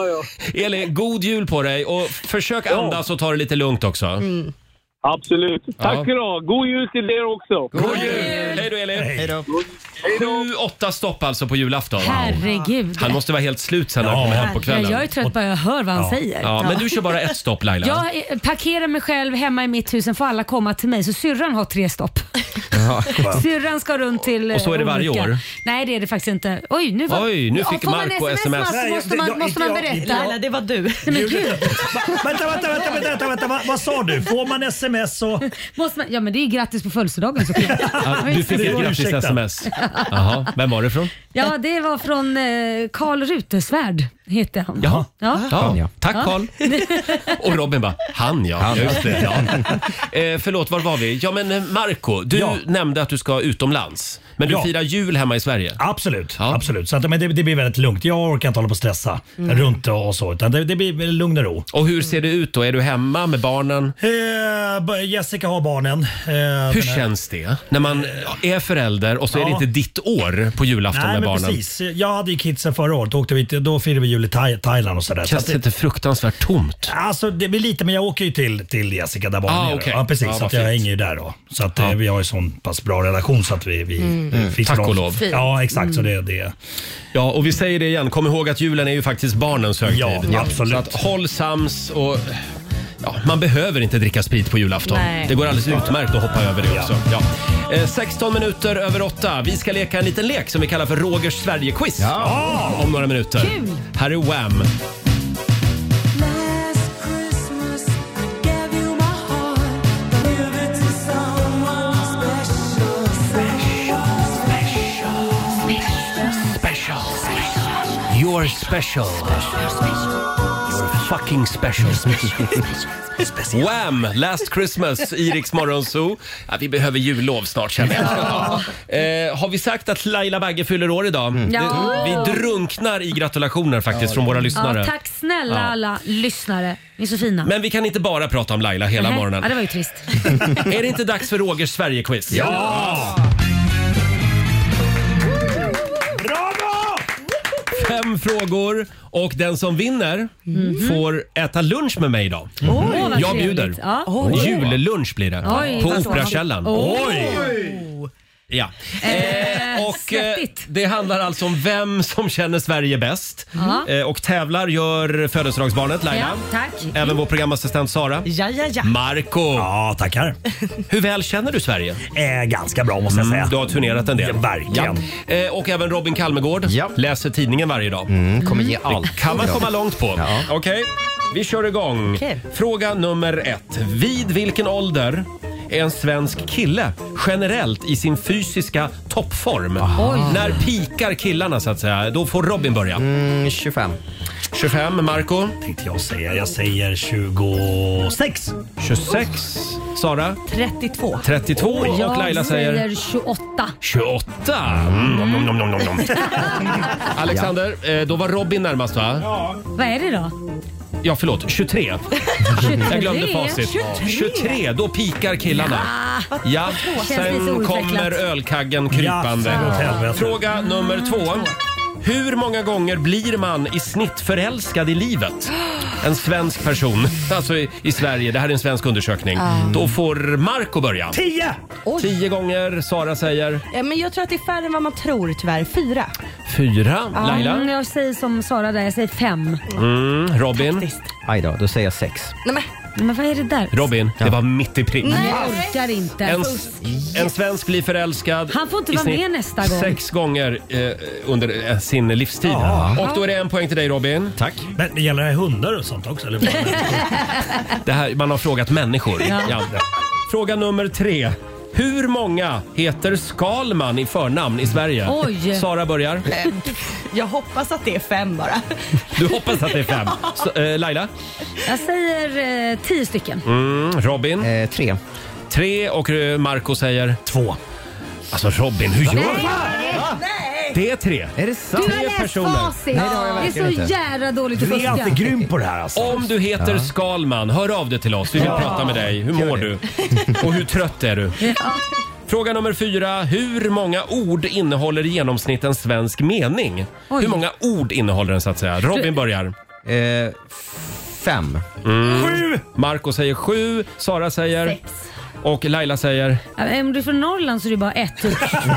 Eh, Eli, god jul på dig och försök andas och ta det lite lugnt också. Mm. Absolut. Tack Ja. ska du ha. God jul till er också. God jul! Hej då Eli! Hej då! Sju, åtta stopp alltså på julafton. Herregud. Han måste vara helt slut sen när han kommer hem på kvällen. Ja, jag är trött bara jag hör vad han ja. säger. Ja, men du kör bara ett stopp Laila. Jag eh, parkerar mig själv hemma i mitt hus, sen får alla komma till mig. Så syrran har tre stopp. Syrran ska runt till eh, Och så är det varje olika. år? Nej, det är det faktiskt inte. Oj, nu, var... Oj, nu Ja, fick får man Marco sms. Marco? Måste man, måste man berätta? Laila, det var du. Nej, men *laughs* gud. Va- Vänta, vänta, vänta, vänta, vänta, vänta. Vad, vad sa du? Får man sms och... *laughs* Måste man... Ja, *laughs* men det är ju grattis på födelsedagen såklart. Ja, du fick ett grattis-sms. Jaha, vem var det från? Ja, det var från eh, Karl Rutesvärd, heter han. Jaha. Ah. Ja. Ja. Tack Karl. Och Robin bara, han ja. Han, ja. *laughs* just det, ja. eh, förlåt, var var vi? Ja men eh, Marco, du Ja. nämnde att du ska utomlands. Men du Ja. firar jul hemma i Sverige. Absolut. absolut. Så att, men det, det blir väldigt lugnt. Jag orkar inte hålla på och stressa Mm. runt och så. Utan det, det blir väl lugn och ro. Och hur ser det ut då? Är du hemma med barnen? Eh, b- Jessica har barnen. Eh, Hur känns det när man är förälder och så är det Ja. inte ditt år på julafton Nej, med men barnen? precis. Jag hade ju kidsen förra året. Då, åkte vi, till- då firade vi jul i Thai- Thailand och sådär. Känns Så det att inte fruktansvärt tomt? Alltså det blir lite, men jag åker ju till, till Jessica där barnen Ah, är då. okej. Ja, precis. Ja, så vad att jag fint. hänger ju där då. Så att eh, vi har ju sån pass bra relation så att vi, vi Mm. eh, finns Tack bra. och lov. Ja, exakt. Så det, det. Ja, och vi säger det igen. Kom ihåg att julen är ju faktiskt barnens högtid. Ja, absolut. Så att håll sams och... Ja, man behöver inte dricka sprit på julafton. Nej. Det går alldeles utmärkt att hoppa över det också. Ja. Eh, 16 minuter över 8. Vi ska leka en liten lek som vi kallar för Rogers Sverige-quiz. Ja. Om några minuter. Kul. Här är Wham! Special. You're special. You're fucking special. *laughs* Wham! Last Christmas i Rix Morgon Zoo. Ja, vi behöver jullov snart känner jag. Ja. *laughs* Eh, har vi sagt att Laila Bagge fyller år idag? Mm. Ja. Det, vi drunknar i gratulationer faktiskt från våra lyssnare. Ja, tack snälla Ja. alla lyssnare. Ni är så fina. Men vi kan inte bara prata om Laila hela Nej. morgonen. Ja, det var ju *laughs* trist. Är det inte dags för Rogers Sverige-quiz? Ja! Fem frågor och den som vinner får äta lunch med mig idag. Mhm. Mm. Oj, vad Jag trevligt. bjuder. Ja. Oj. Jullunch blir det. Oj, på vad så. Operakällaren. Ja. Eh, och, eh, det handlar alltså om vem som känner Sverige bäst. Ja. Eh, och tävlar gör födelsedagsbarnet Laila. Ja, tack. Även vår programassistent Sara. Ja, ja, ja. Marco. Ja, tackar. *laughs* Hur väl känner du Sverige? Mm, Eh, ganska bra måste jag säga. du har turnerat en del. Ja, verkligen. Ja. Eh, och även Robin Kalmegård läser tidningen varje dag. Mm, kommer ge Det allt. kan man Ja. komma långt på. Okej, vi kör igång. Okej. Fråga nummer ett. Vid vilken ålder är en svensk kille generellt i sin fysiska toppform? När pikar killarna så att säga? Då får Robin börja. Mm, 25. 25, Marco? Tänkte jag säga. Jag säger 26. 26. Sara? 32. 32 och Jag Laila säger? 28. 28. Mm, nom, nom, nom, nom, nom. *laughs* Alexander, eh, då var Robin närmast va? Vad är det då? Ja, förlåt. 23. Jag glömde 23. facit. 23. 23, då pikar killarna. Ja. Ja, Känns lite sen outvecklat. kommer ölkaggen Ja, för åt krypande. helvete. Fråga nummer två. Hur många gånger blir man i snitt förälskad i livet? En svensk person, alltså i, i Sverige. Det här är en svensk undersökning. Mm. Då får Marco börja. 10! Tio gånger. Sara säger Ja, men jag tror att det är färre än vad man tror tyvärr. Fyra. fyra. Mm, Laila? jag säger som Sara där, jag säger fem. Mm, Robin? Aj då, då säger jag sex. Nej, men, men vad är det där? Robin, det var mitt i prick. Nej, jag orkar inte. En, en svensk blir förälskad Han får inte i vara snitt med nästa gång. sex gånger eh, under eh, sin livstid. Och då är det en poäng till dig Robin. Tack. Men gäller det hundar och sånt också? Eller bara *laughs* Det här, man har frågat människor. Ja. Ja. Fråga nummer tre. Hur många heter Skalman i förnamn i Sverige? Oj. Sara börjar. Eh, Jag hoppas att det är fem bara. Du hoppas att det är fem. Så, eh, Laila? Jag säger eh, tio stycken. Mm, Robin? tre. Tre och eh, Marco säger? Eh, Två. Alltså Robin, hur gör du? Ah. Nej! Det är tre. Är det Du har läst facit. det, är så jävla dåligt att fuska. på det här alltså. Om du heter Ja. Skalman, hör av dig till oss. Vi vill Ja. prata med dig. Hur mår du? Och hur trött är du? Fråga nummer fyra. Hur många ord innehåller i genomsnitt en svensk mening? Hur många ord innehåller den så att säga? Robin börjar. Eh, fem. Sju! Marco säger sju. Sara säger? Sex. Och Laila säger? Ja, men Om du är från Norrland så är det bara ett. Typ. Ja, det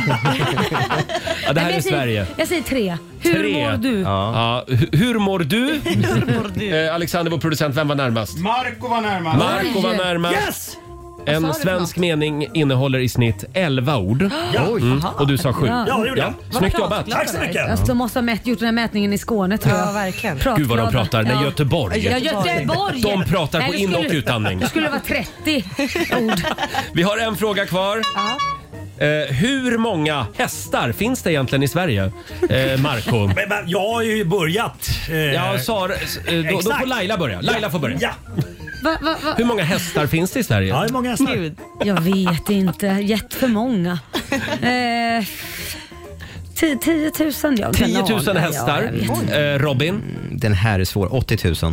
Nej, men här typ är jag säger- Sverige. Jag säger tre. Hur Tre. mår du? Ja. hu- hur mår du? Eh, Alexander, vår producent, vem var närmast? Marco var närmast. Marco var närmast. En Vad sa du för svensk mening innehåller i snitt 11 ord. Mm. Ja. Aha. Och du sa 7. Ja. Ja, det gjorde Vad Snyggt pratglad jobbat. du är. Tack så mycket. Alltså, de måste ha mätt, gjort den här mätningen i Skåne tror jag. Ja, verkligen. Gud vad de pratar. Nej, Göteborg. Ja, Göteborg. De pratar på Nej, det in och skulle- utandning. Det skulle vara 30 ord. Vi har en fråga kvar. Eh, hur många hästar finns det egentligen i Sverige, eh, Marco? *laughs* Men, men, jag har ju börjat. eh, Ja, Sara, eh, då, då exakt. får Laila börja. Laila får börja. Ja. Va, va, va? Hur många hästar finns det i Sverige? Ja, hur många hästar? Gud, jag vet inte. Jätteför *laughs* många. Eh, ti- 10 000, ja. 10 kan ha 000 det. hästar. Ja, jag vet. Eh, Robin? Mm, Mm, Den här är svår. 80 000. Så,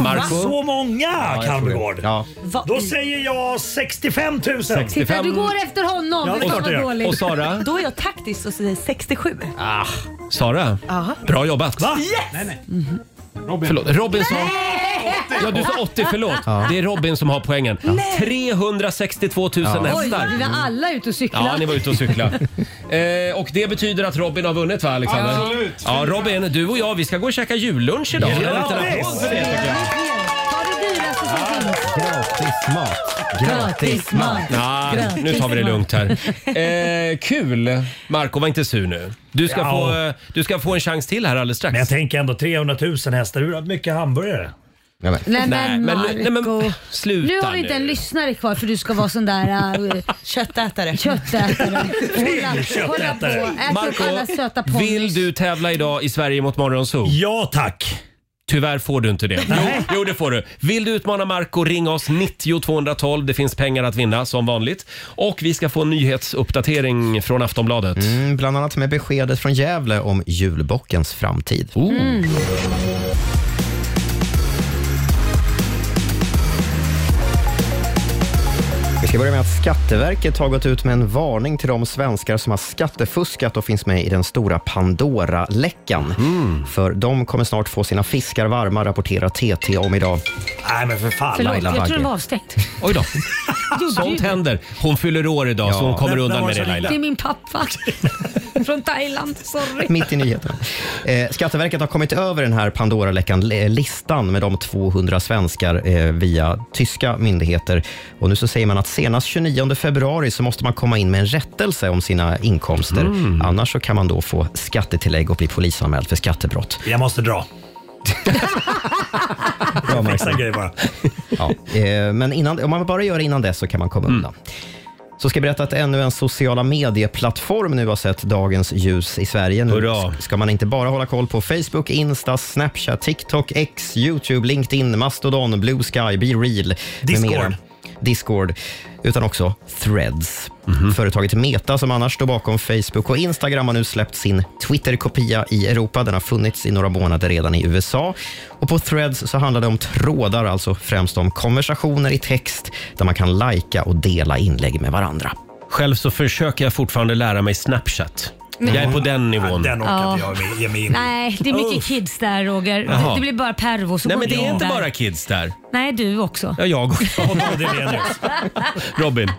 Marco? så många jag tror det. Kalmegård. Ja. Då säger jag 65 000. Titta, du går efter honom. Ja, det är det klart jag var gör. dåligt. Och Sara? Då är jag taktisk och säger 67. Ah, Sara, Aha. bra jobbat. Yes! Robin. Förlåt, Robin sa... Ja, du sa 80, förlåt. Ja. Det är Robin som har poängen. 362 000 Oj, hästar. vi var alla ute och cyklade. Ja, ni var ute och cykla. *laughs* eh, och det betyder att Robin har vunnit va, Alexander? Absolut. Ja, Robin, du och jag, vi ska gå och käka jullunch idag. Ja, En liten visst. applåd för det tycker jag. Ta det dyraste som finns. Gratismat. Gratismat. Ja, nu tar vi det lugnt här. *laughs* Eh, kul! Marco var inte sur nu. Du ska, Ja. få, eh, du ska få en chans till här alldeles strax. Men jag tänker ändå 300 000 hästar. Hur mycket hamburgare? Nej, men nu- nej, men sluta Nu har vi inte en lyssnare kvar för du ska vara sån där *laughs* äh, köttätare. köttätare. Hålla, hålla på, ät upp alla söta Marco, ponnyer. vill du tävla idag i Sverige mot Morgonzoo? Ja tack! Tyvärr får du inte det. Jo, jo, det får du. Vill du utmana Marco, ring oss 90 212. Det finns pengar att vinna som vanligt. Och vi ska få en nyhetsuppdatering från Aftonbladet. Mm, bland annat med beskedet från Gävle om julbockens framtid. Mm. Vi ska börja med att Skatteverket har gått ut med en varning till de svenskar som har skattefuskat och finns med i den stora Pandora-läckan. Mm. För de kommer snart få sina fiskar varma, rapporterar TT om idag. Nej men för fan. Förlåt, Laila jag tror Bagge. den var avstängd. Oj då. Jo, Sånt gud. händer. Hon fyller år idag så hon kommer Där- där undan var med så det Laila. Det är min *laughs* pappa. Från Thailand, sorry. Mitt i nyheterna. Eh, Skatteverket har kommit över den här Pandora-läckan, li- listan med de 200 svenskar eh, via tyska myndigheter. Och nu så säger man att senast 29 februari så måste man komma in med en rättelse om sina inkomster. Annars så kan man då få skattetillägg och bli polisanmäld för skattebrott. Jag måste dra. Bra, Marco. Fixa en grej bara. Ja, eh, men innan, om man bara gör det innan dess så kan man komma undan. Så ska jag berätta att ännu en sociala medieplattform nu har sett dagens ljus i Sverige. Nu Hurra. ska man inte bara hålla koll på Facebook, Insta, Snapchat, TikTok, X, YouTube, LinkedIn, Mastodon, Blue Sky, Be Real med Discord. mera. Discord, utan också Threads. Företaget Meta, som annars står bakom Facebook och Instagram, har nu släppt sin Twitter-kopia i Europa. Den har funnits i några månader redan i USA. Och På Threads så handlar det om trådar, alltså främst om konversationer i text där man kan lajka och dela inlägg med varandra. Själv så försöker jag fortfarande lära mig Snapchat. Men- Jag är på den nivån. den orkar Ja. inte jag ge mig Nej, det är mycket kids där Roger. Jaha. Det, det blir bara pervo som Nej går men det är in inte där. bara kids där. Nej, du också. Ja, jag också. Robin.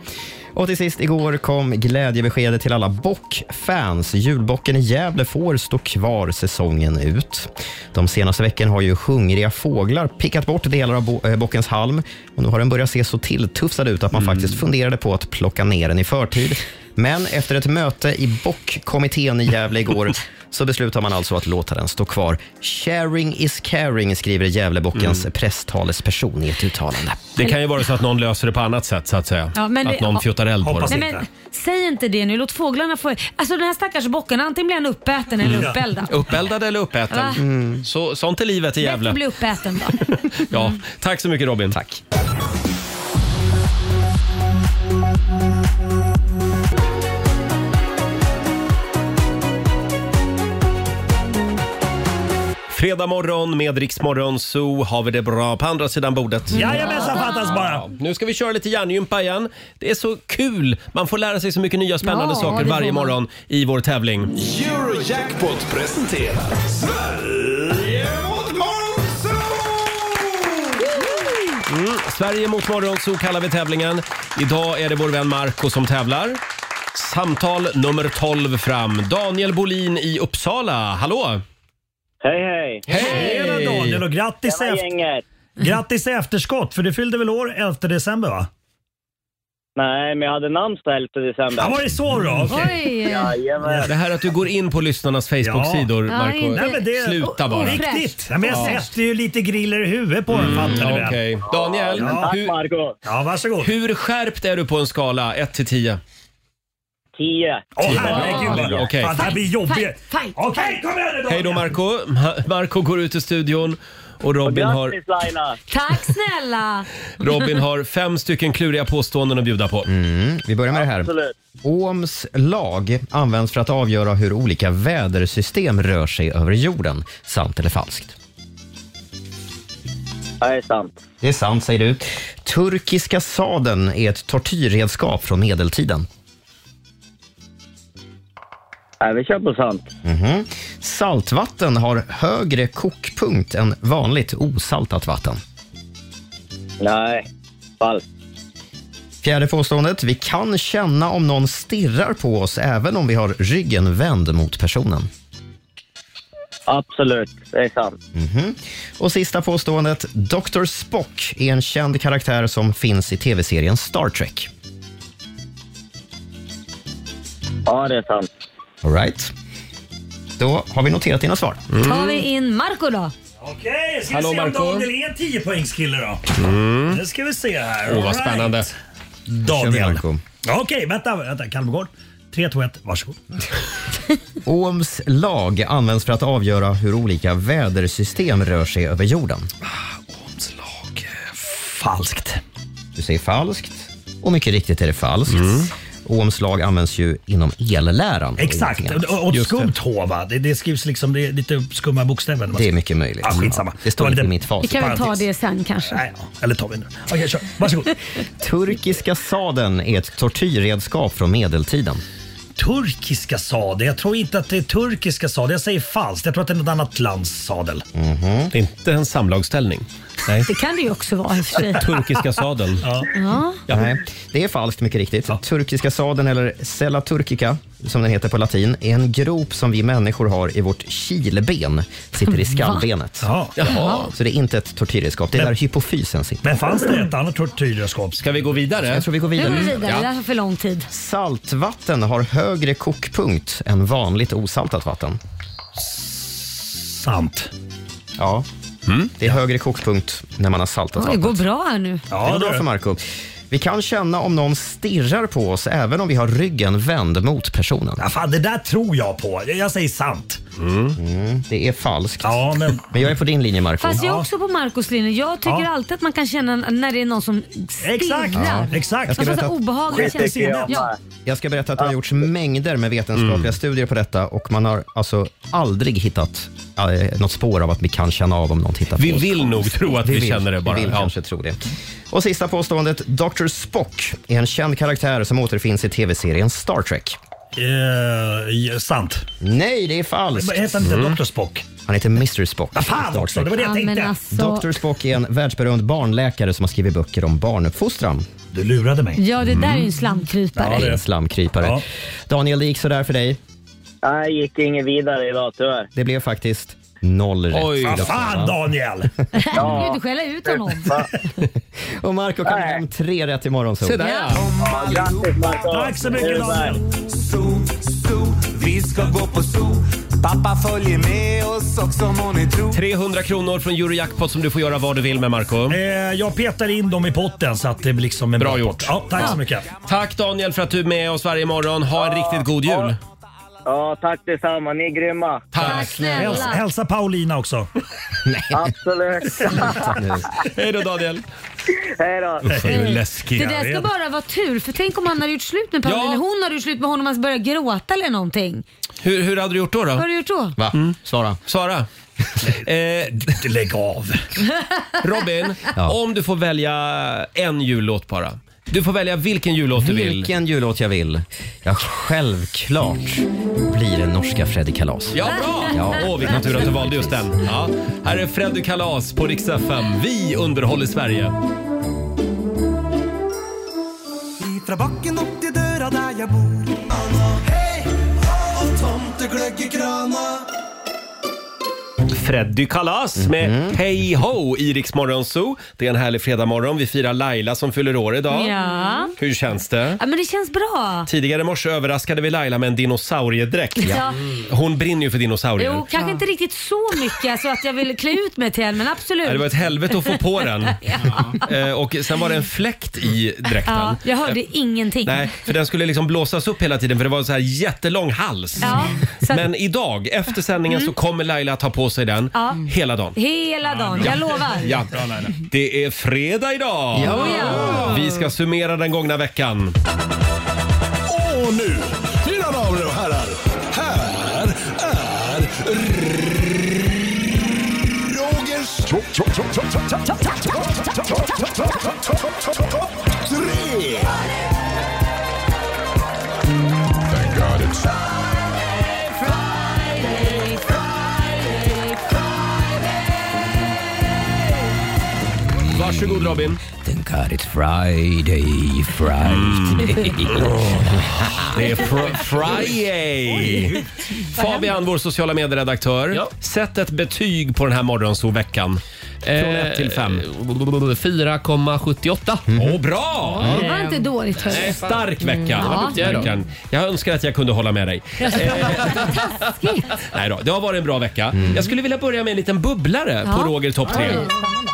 Och till sist, igår kom glädjebeskedet till alla bockfans. Julbocken i Gävle får stå kvar säsongen ut. De senaste veckorna har ju hungriga fåglar pickat bort delar av bo- eh, bockens halm och nu har den börjat se så tilltufsad ut att man Mm. faktiskt funderade på att plocka ner den i förtid. Men efter ett möte i bockkommittén i Gävle igår så beslutar man alltså att låta den stå kvar. Sharing is caring, skriver Gävlebockens presstalesperson i ett uttalande. Mm. Det kan ju vara så att någon löser det på annat sätt så att säga. Ja, men att det- någon ja. fjuttar eld på Nej, det. men, säg inte det nu. Låt fåglarna få... Alltså den här stackars bocken, antingen blir han uppäten Mm. eller uppeldad. Uppeldad eller uppäten. Va? Så, sånt är livet Bättre i Gävle. bli uppäten då. Ja, tack så mycket Robin. Tack. Fredag morgon med Riksmorgon Zoo har vi det bra på andra sidan Mm. bordet. Jajamensan, fattas bara. Nu ska vi köra lite hjärngympa igen. Det är så kul! Man får lära sig så mycket nya spännande Ja, saker det får varje man. morgon i vår tävling. Eurojackpot presenterar Sverige mot Monzo! Mm. Sverige mot Morgonzoo kallar vi tävlingen. Idag är det vår vän Marco som tävlar. Samtal nummer 12 fram. Daniel Bolin i Uppsala. Hallå! Hej, hej! Tjena Daniel och grattis, Tjena, efter, gänget! grattis i efterskott för du fyllde väl år 11 december va? Nej, men jag hade namnsdag 11 december. Ja, var det så Mm. då? Okej. Oj. Jajamän. Det här att du går in på lyssnarnas Facebook-sidor, Ja. Marco. Nej, men det, Sluta bara. Riktigt! Ja, men jag Ja. Mm, sätter ju lite griller i huvudet på den fattar du Okej. väl? Daniel, Ja. hur, Ja, varsågod. hur skärpt är du på en skala 1 till 10? Tio. Åh herregud. Ja, okej. Fan, det här blir jobbigt. Fight, Okej, kom igen nu Hej då Marco *laughs* Ma- Marco går ut i studion och Robin har, Grattis Laila! Tack snälla! *laughs* Robin har fem stycken kluriga påståenden att bjuda på. Mm, Vi börjar med det här. Ohms lag används för att avgöra hur olika vädersystem rör sig över jorden. Sant eller falskt? Det är sant. Det är sant, säger du. Turkiska sadeln är ett tortyrredskap från medeltiden. Nej, vi kör på sant. Mhm. Saltvatten har högre kokpunkt än vanligt osaltat vatten. Nej, falskt. Fjärde påståendet. Vi kan känna om någon stirrar på oss även om vi har ryggen vänd mot personen. Absolut, det är sant. Mhm. Och sista påståendet. Dr Spock är en känd karaktär som finns i tv-serien Star Trek. Ja, det är sant. All right. Då har vi noterat dina svar. Tar vi in Marco då? Okej, ska vi Hallå, se om Marco. Daniel är en 10-poängskille då? Mm. Nu ska vi se här. Åh, All vad right. spännande. Daniel. Okej, vänta, vänta. Kalmegård. 3, 2, 1, varsågod. Ohms lag används för att avgöra hur olika vädersystem rör sig över jorden. Ah, Ohms lag. Falskt. Du säger falskt och mycket riktigt är det falskt. Mm. Ohms lag används ju inom elläran. Exakt. Ingenting annat. Och ett skumt H va? Det, det skrivs liksom det är lite skumma bokstäver. Det är mycket möjligt. Ah, skitsamma. Ja, det står var inte lite- i mitt Vi facit. kan väl ta det sen kanske. Eller tar vi nu. Okej, kör. Varsågod. *laughs* Turkiska sadeln är ett tortyrredskap från medeltiden. Turkiska sadel. Jag tror inte att det är turkiska sadel. Jag säger falskt. Jag tror att det är något annat lands sadel. Mhm. Det är inte en samlagsställning. Nej. Det kan det ju också vara i och för sig. Turkiska sadeln. Ja. Ja. Nej, det är falskt mycket riktigt. Turkiska sadeln, eller Sella turkica, som den heter på latin, är en grop som vi människor har i vårt kilben. Sitter i skallbenet. Jaha. Jaha. Så det är inte ett tortyrredskap. Det är Men- där hypofysen sitter. Men fanns det ett annat tortyrredskap? Ska vi gå vidare? Jag tror vi går Nu vidare. går vi vidare, det Ja. här var för lång tid. Saltvatten har högre kokpunkt än vanligt osaltat vatten. Sant. Mm. Ja. Det är högre kokpunkt när man har saltat Oj, det vatten. går bra här nu. det går bra för Marco. Vi kan känna om någon stirrar på oss även om vi har ryggen vänd mot personen. Ja, fan, det där tror jag på. Jag- Jag säger sant. Mm, det är falskt. Ja, men... jag är på din linje, Marco. Fast jag är också på Marcos linje. Jag tycker Ja. alltid att man kan känna när det är någon som Alltså, stirrar. Exakt. Ja, exakt. Någon Jag sorts ska berätta- obehaglig Skit i känsla. sinnet. Ja. Jag ska berätta att det har gjorts mängder med vetenskapliga Mm. studier på detta och man har alltså aldrig hittat eh, något spår av att vi kan känna av om någon tittar på Vi oss. vill nog tro att vi vill- känner det bara. Vi vill Ja. kanske tro det. Och sista påståendet. Dr Spock är en känd karaktär som återfinns i tv-serien Star Trek. Eh, sant. Nej, det är falskt. Mm. Men heter han inte Dr. Spock? Han heter Mr Spock. Vad fan Star också, Trek. det var det jag Ja, men tänkte. alltså- Dr Spock är en världsberömd barnläkare som har skrivit böcker om barnuppfostran. Mm. Du lurade mig. ja, det där är ju en slamkrypare. Ja, det är en slamkrypare. Daniel, det gick sådär för dig. Nej, jag gick inget vidare idag tyvärr. Det blev faktiskt noll rätt. Oj. Vill jag Vad Fan säga. Daniel! *laughs* Du kan ju inte skälla ut honom. Och Marco kommer hem tre rätt imorgon. Så. Se där, ja. Grattis Marko! Tack så mycket, Daniel. Zoo, zoo, vi ska gå på zoo. Pappa följer med oss också om hon är tro. 300 kronor från Eurojackpot som du får göra vad du vill med Marco. Eh, jag petar in dem i potten så att det blir liksom en Bra bra gjort. pott. Ja, tack Ja. så mycket. Tack Daniel för att du är med oss varje morgon. Ha en riktigt god jul. Ja, tack detsamma. Ni är grymma. Tack snälla. Häls, hälsa Paulina *laughs* också. Absolut. Hej då Daniel. Hej då. Usch, vad du Eh, är läskig. Det där ska bara vara tur, för tänk om han hade gjort slut med Paulina. Ja. Hon hade gjort slut med honom och han började gråta eller *laughs* någonting. Hur, hur hade du gjort då? då? Vad har du gjort då? Va? Sara? *laughs* Sara? Eh, Lägg av. *laughs* Robin, om du får välja en jullåt bara. Du får välja vilken jullåt du vill. Vilken jullåt jag vill? Ja, självklart blir det norska Freddy Kalas. Ja, bra! Ja. Åh, vilken tur att du valde just den. Ja. Här är Freddy Kalas på Rix FM. Vi underhåller Sverige. Ifrån backen upp till dörra där jag bor. Hej! Och tomteglögg i krana. Freddy Kalas Mhm. med Hey Ho i Rix Morgon Zoo. Det är en härlig fredagmorgon. Vi firar Laila som fyller år idag. Ja. Hur känns det? ja, men det känns bra. Tidigare i morse överraskade vi Laila med en dinosauriedräkt. Ja. Hon brinner ju för dinosaurier. Jo, kanske inte riktigt så mycket så att jag vill klä ut mig till en, men absolut. Ja, Det var ett helvete att få på *laughs* den. Eh, Och sen var det en fläkt i dräkten. Ja, jag hörde Eh, ingenting. Nej, för den skulle liksom blåsas upp hela tiden för det var en så här jättelång hals. Ja, så att- Mm. Men idag, efter sändningen, så kommer Laila ta på sig den Ja. hela dagen. Hela dagen, jag lovar. Ja. Det är fredag idag! Ja. Vi ska summera den gångna veckan. Och nu, mina damer och herrar, här är Rogers... Tre! Thank God it's... Varsågod Robin. Thank God it's Friday, Friday. Det är fr- Friday! typ- Fabian, vår sociala medieredaktör. Sätt ett betyg på den här morgonsoveckan. Från Eh, 1 till 5. Eh, 4,78. Åh, bra! Det Mm. var inte dåligt. hörru. Nej, stark vecka. Mm, ja. Verkan. Jag önskar att jag kunde hålla *laughs* med dig. Taskigt. Nej då, det har varit en bra vecka. Mm. Jag skulle vilja börja med en liten bubblare Ja. på Roger topp 3 Oj.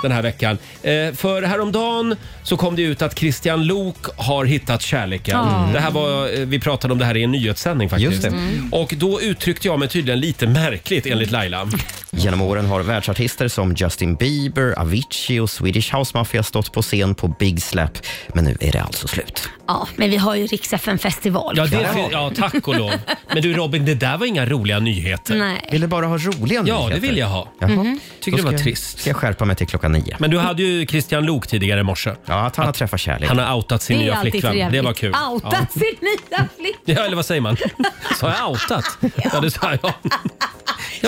den här veckan. Eh, för häromdagen så kom det ut att Christian Lok har hittat kärleken. Ja. Det här var, eh, vi pratade om det här i en nyhetssändning faktiskt. Just det. Mm. Och då uttryckte jag mig tydligen lite märkligt *laughs* enligt Laila. Genom åren har världsartister som Justin Bieber, Avicii och Swedish House Mafia stått på scen på Big Slap, men nu är det alltså slut. Ja, men vi har ju riks festival Ja, det, fin- ja, tack och lov. Men du Robin, det där var inga roliga nyheter. Nej. Vill du bara ha roliga Ja, nyheter? det vill jag ha. Jaha. Mhm. Tycker Då det var ska jag- trist. Ska jag skärpa mig till klockan nio. Men du hade ju Christian Lok tidigare i morse. Ja, att han har träffat kärlek. Han har outat sin Det är nya alltid flickvän. trevligt. Det var kul. Outat Ja. sin nya flickvän. Ja, *laughs* eller vad *laughs* säger man? Sa jag outat? Ja, det sa jag. Ja,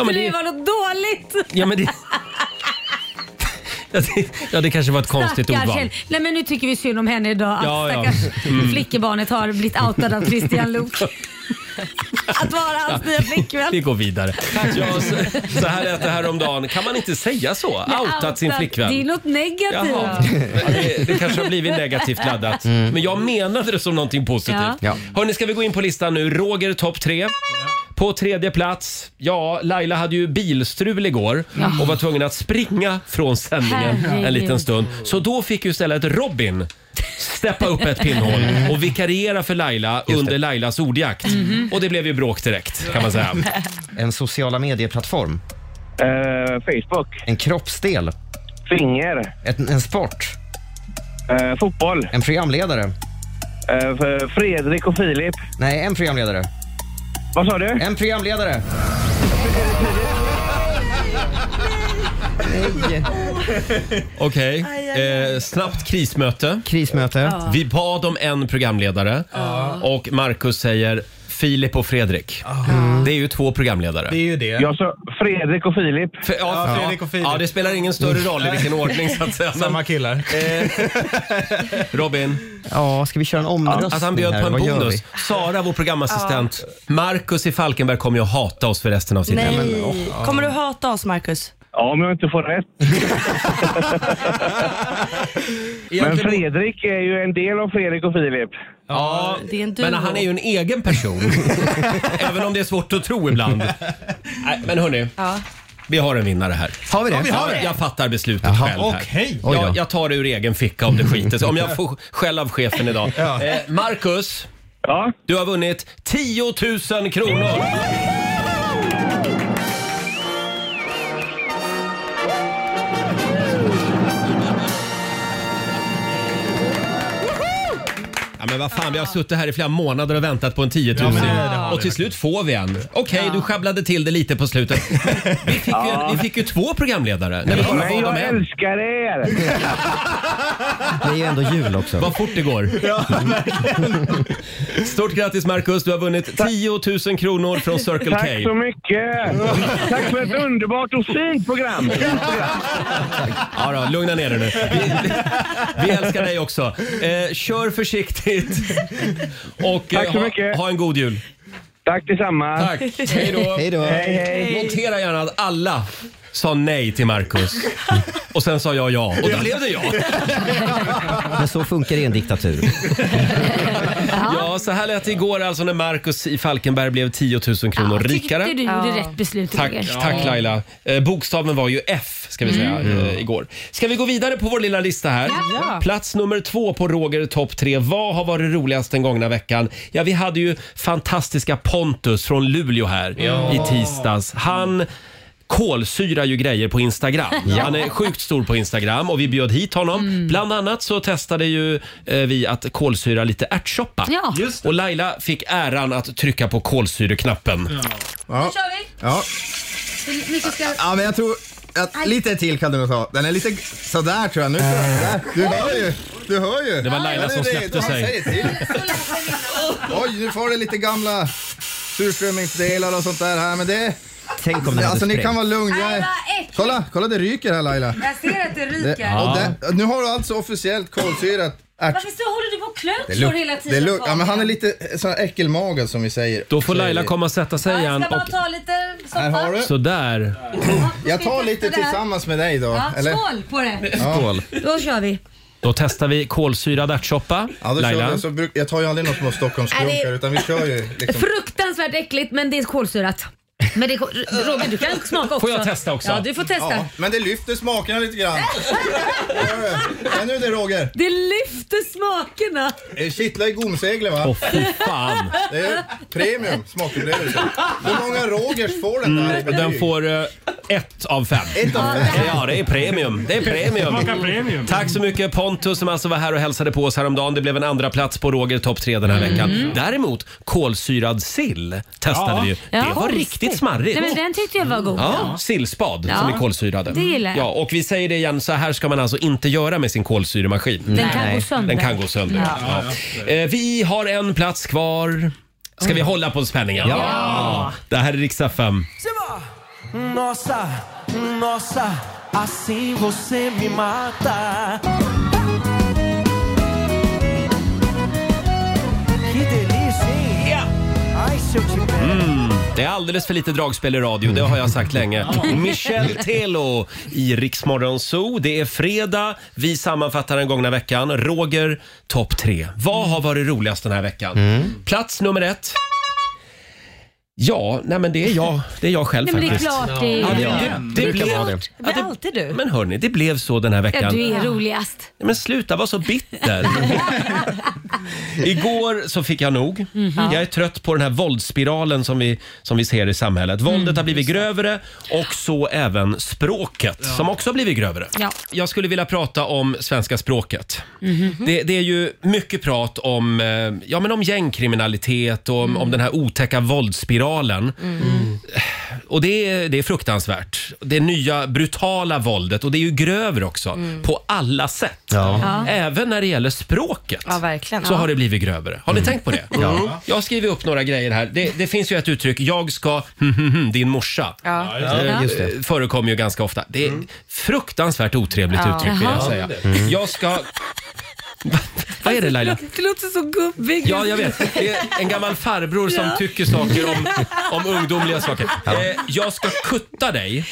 men Skulle det det, vara något dåligt? ja, men det, *laughs* ja, det, ja, det kanske var ett konstigt Stackars ordval. Hel- Nej men nu tycker vi synd om henne idag. Att Ja, ja. stackars Mm. flickebarnet har blivit outad av Christian *laughs* Luuk. att vara hans nya Vi flickvän. går vidare. Ja, så, så här lät det här om dagen. Kan man inte säga så? Men Outat sin Det är flickvän. något negativt. Jaha. Ja, Det, det kanske har blivit negativt laddat. Men jag menade det som någonting positivt. Ja. Ja. Hörni, ska vi gå in på listan nu? Roger topp tre. På tredje plats, ja, Laila hade ju bilstrul igår och var tvungen att springa från sändningen en Herregud. liten stund. Så då fick ju istället Robin steppa upp ett pinnhål och vikariera för Laila under Lailas ordjakt. Och det blev ju bråk direkt kan man säga. En sociala medieplattform. Eh, Facebook. En kroppsdel. Finger. Eh, Ett, en sport. fotboll. Eh, En programledare. Fredrik och Filip. Nej, en programledare. Vad sa du? En programledare. Okej, eh, snabbt krismöte. Krismöte. Ja. Vi bad om en programledare och Marcus säger Filip och Fredrik. Mm. Det är ju två programledare. Det är ju det. Jag sa Fredrik och Filip. ja, Ja, Fredrik Fredrik och och Filip. Ja, det spelar ingen större roll i vilken ordning så att säga. Men, Eh, Samma killar. *laughs* Robin. Ja, ska vi köra en omröstning Att han bjöd här? på en Vad gör bonus. vi? Sara, vår programassistent. Marcus i Falkenberg kommer ju att hata oss för resten av sitt liv. Nej. Kommer du hata oss, Marcus? Ja, om jag inte får rätt. Men Fredrik är ju en del av Fredrik och Filip. Ja, det är en men duo. han är ju en egen person. *laughs* Även om det är svårt att tro ibland. Nej, men hörni. Ja. Vi har en vinnare här. Har vi det? Ja, vi har det. Jag fattar beslutet Jaha, själv här. okej. Oj då. Jag, jag tar det ur egen ficka om det skiter sig. Om jag får skäll av chefen idag. Ja. Eh, Marcus, du har vunnit 10 000 kronor! Ja, men vad fan, vi har suttit här i flera månader och väntat på en 10 000. Ja, men det- det har och vi till slut får vi en. Okej, du sjabblade till det lite *laughs* på slutet. Vi fick, ju, vi fick ju två programledare. När vi bara Men bad om jag en. älskar er! Det är ju ändå jul också. Vad fort *laughs* det går. Stort grattis Marcus, du har vunnit 10 000 kronor från *laughs* Circle K. Tack så mycket! Tack för ett underbart och fint program! Ja då, lugna ner dig nu. Vi, vi älskar dig också. Eh, kör försiktigt och Tack så ha, mycket. ha en god jul. Tack detsamma. Tack. Hej då. Hej, hej. Notera gärna att alla sa nej till Marcus. Och sen sa jag ja och då blev det jag. Men så funkar det i en diktatur. Ja, så här lät det igår alltså när Marcus i Falkenberg blev 10 000 kronor rikare. Tyckte du gjorde rätt beslut Tack, Roger? tack Laila. Eh, bokstaven var ju F ska vi säga Mm. eh, igår. Ska vi gå vidare på vår lilla lista här? Ja. Plats nummer två på Roger topp tre. Vad har varit roligast den gångna veckan? Ja, vi hade ju fantastiska Pontus från Luleå här Ja. i tisdags. Han kolsyrar ju grejer *laughs* på Instagram. Ja. Han är sjukt stor på Instagram och vi bjöd hit honom. Mm. Bland annat så testade ju eh, vi att kolsyra lite ärtsoppa. Ja. Just Och Laila fick äran att trycka på kolsyreknappen. Ja. kör vi. Ja. Hur mycket ska... ja, men jag tror... Att, lite till kan du nog ta. Den är lite sådär tror jag. Nu tror jag. Där. Du hör ju. Du hör ju. Det var Laila Ja, som det- släppte han sig. säger till. Oj, nu får det lite gamla surströmmingsdelar och sånt där här. Men det... Tänk om den hade Alltså ni sprängt. kan vara lugna. Jag Nej, är- vad äckligt. Kolla, kolla det ryker här Laila. Jag ser att det Det, ryker. och där, nu har du alltså officiellt kolsyrat ärt... Varför så håller du på och Det klökslår hela luk- det tiden? luk- ja, men Fabian? han är lite sån här äckelmagad som vi säger. Då får Laila komma och sätta sig Jag igen. ska bara Och ta lite soppa. Här har du. sådär. *clears throat* Jag tar lite Det här. tillsammans med dig då. Ja, eller? skål på det. Skål. Då kör vi. Då testar vi kolsyrad ärtsoppa. Ja, då kör Laila. vi, så bruk, jag tar ju aldrig något små Nej, Stockholmskrunkar det- utan vi kör *laughs* ju liksom. Fruktansvärt äckligt men det är kolsyrat. Men det är, ko- Roger du *laughs* kan smaka också. Får jag testa också? Ja du får testa. Ja, men det lyfter smakerna lite *laughs* grann. Hör du? Känner du det Roger? Det lyfter smakerna. Det kittlar i gomseglen va? Åh fy fan. Det är premium smakupplevelse. Hur många Rogers får den där? Mm, den får eh, ett av fem. Ett av fem? Ja, det är premium. Det är premium. Smaka premium. Tack så mycket Pontus som alltså var här och hälsade på oss häromdagen. Det blev en andra plats på Roger topp tre den här Mm. veckan. Däremot kolsyrad sill testade Ja. vi ju. Ja, Det var konstigt. riktigt smarrigt. Nej, men den tyckte jag var god. Ja, sillspad Ja. som är kolsyrade. Det gillar jag. ja, Och vi säger det igen, så här ska man alltså inte göra med sin kolsyremaskin. Den kan Nej. gå sönder. Den kan gå sönder. Ja. Ja. Eh, Vi har en plats kvar. Ska Mm. vi hålla på spänningen? Ja. Det här är riksdag 5. Nossa, nossa, assim você me mata. Que delícia, hein? Ai, se eu te Mm. Det är alldeles för lite dragspel i radio, det har jag sagt länge. Mm. *laughs* Michel Telo i Riksmorgon Zoo. Det är fredag, vi sammanfattar den gångna veckan. Roger, topp tre. Vad har varit roligast den här veckan? Plats nummer ett. Ja, nej men det är jag, det är jag själv Nej, men det är faktiskt. klart det är- ja, Ja, det, det, det, det brukar blev, vara det. Det är alltid du. Men hörni, det blev så den här veckan. Ja, du är roligast. Nej, Men sluta vara så bitter. Igår så fick jag nog. Jag är trött på den här våldsspiralen som vi, som vi ser i samhället. Våldet har blivit grövre och så även språket som också har blivit grövre. Ja. Jag skulle vilja prata om svenska språket. Mhm. Mhm. Det, det är ju mycket prat om, eh, ja, men om gängkriminalitet och om, Mm. om den här otäcka våldsspiralen. Eh, Och det är, det är fruktansvärt. Det nya brutala våldet och det är ju grövre också på alla sätt. Mm. Ja. Även när det gäller språket Ja, verkligen. så ja. har det blivit grövre. Har ni tänkt på det? Ja. Mm. Jag har skrivit upp några grejer här. Det, det finns ju ett uttryck, jag ska *laughs* din morsa. Ja. Eh, Ja. Just eh, förekommer ju ganska ofta. Det Mm. är fruktansvärt otrevligt Ja. uttryck vill jag Jaha. säga. Mm. Jag ska... Vad är det Laila? Det låter så gubbig. Ja, jag vet. Det är en gammal farbror som Ja. tycker saker om, *laughs* om ungdomliga saker. Eh, jag ska kutta dig.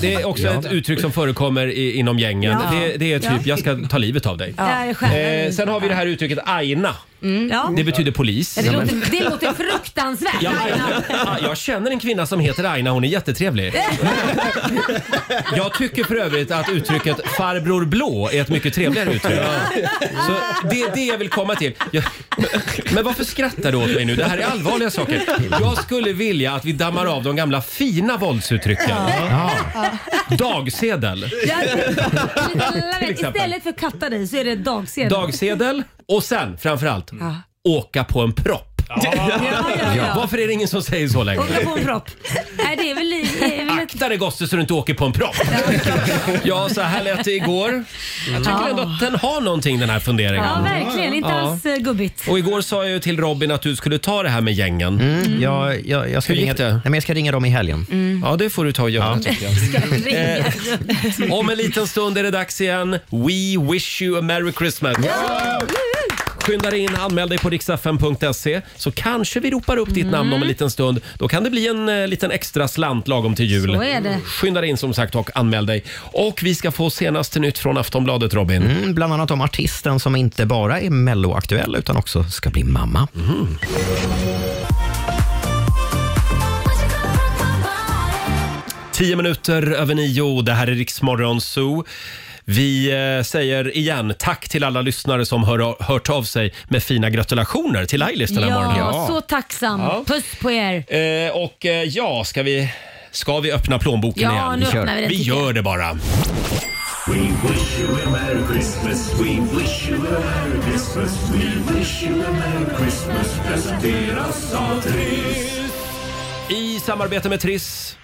Det är också Ja. ett uttryck som förekommer i, inom gängen. Ja. Det, det är typ, Ja. jag ska ta livet av dig. Ja. Det är skärmen. Eh, sen har vi det här uttrycket aina. Mm. Ja. Det betyder polis. Ja, det, låter, det låter fruktansvärt. Ja, Aina. jag känner en kvinna som heter Aina, hon är jättetrevlig. *laughs* Jag tycker för övrigt att uttrycket farbror blå är ett mycket trevligare uttryck. Eh, Så det är det jag vill komma till. Jag, men varför skrattar du åt mig nu? Det här är allvarliga saker. Jag skulle vilja att vi dammar av de gamla fina våldsuttrycken. Ja. Dagsedel. Ja, alla Till vet. exempel. Istället för katta dig så är det dagsedel. Dagsedel och sen framförallt Ja. åka på en propp. ja. Varför är det ingen som säger så längre? Åka på en propp. Nej, det är väl... li- Det är väl ett... Akta dig gosse så du inte åker på en propp. ja, så här lät det igår. Jag tycker Ja. ändå att den har någonting den här funderingen. Ja, verkligen. Inte Ja. alls eh, gubbigt. Och igår sa jag ju till Robin att du skulle ta det här med gängen. Jag, jag, Mm. jag, ska Hur gick ringa, det? Mm. nej, men jag ska ringa dem i helgen. Ja, det får du ta och göra tycker jag. eh. ringa. *laughs* Om en liten stund är det dags igen. We wish you a merry Christmas. Skynda dig in, anmäl dig på riksfm.se så kanske vi ropar upp ditt namn om Mm. en liten stund. Då kan det bli en eh, liten extra slant lagom till jul. Så är det. Skynda dig in som sagt och anmäl dig. Och vi ska få senaste nytt från Aftonbladet, Robin. Mm, bland annat om artisten som inte bara är melloaktuell utan också ska bli mamma. Mm. Tio minuter över nio, det här är Riksmorgon Zoo. Vi eh, säger igen tack till alla lyssnare som hör, hört av sig med fina gratulationer till Lailis den här Ja, morgonen. så tacksam. Ja. Puss på er. Eh, och eh, ja, ska vi, ska vi öppna plånboken Ja, igen? nu öppnar vi den, Vi tycker gör det bara. We wish you a Merry Christmas, we wish you a Merry Christmas, we wish you a Merry Christmas presenteras av Triss. I samarbete med Triss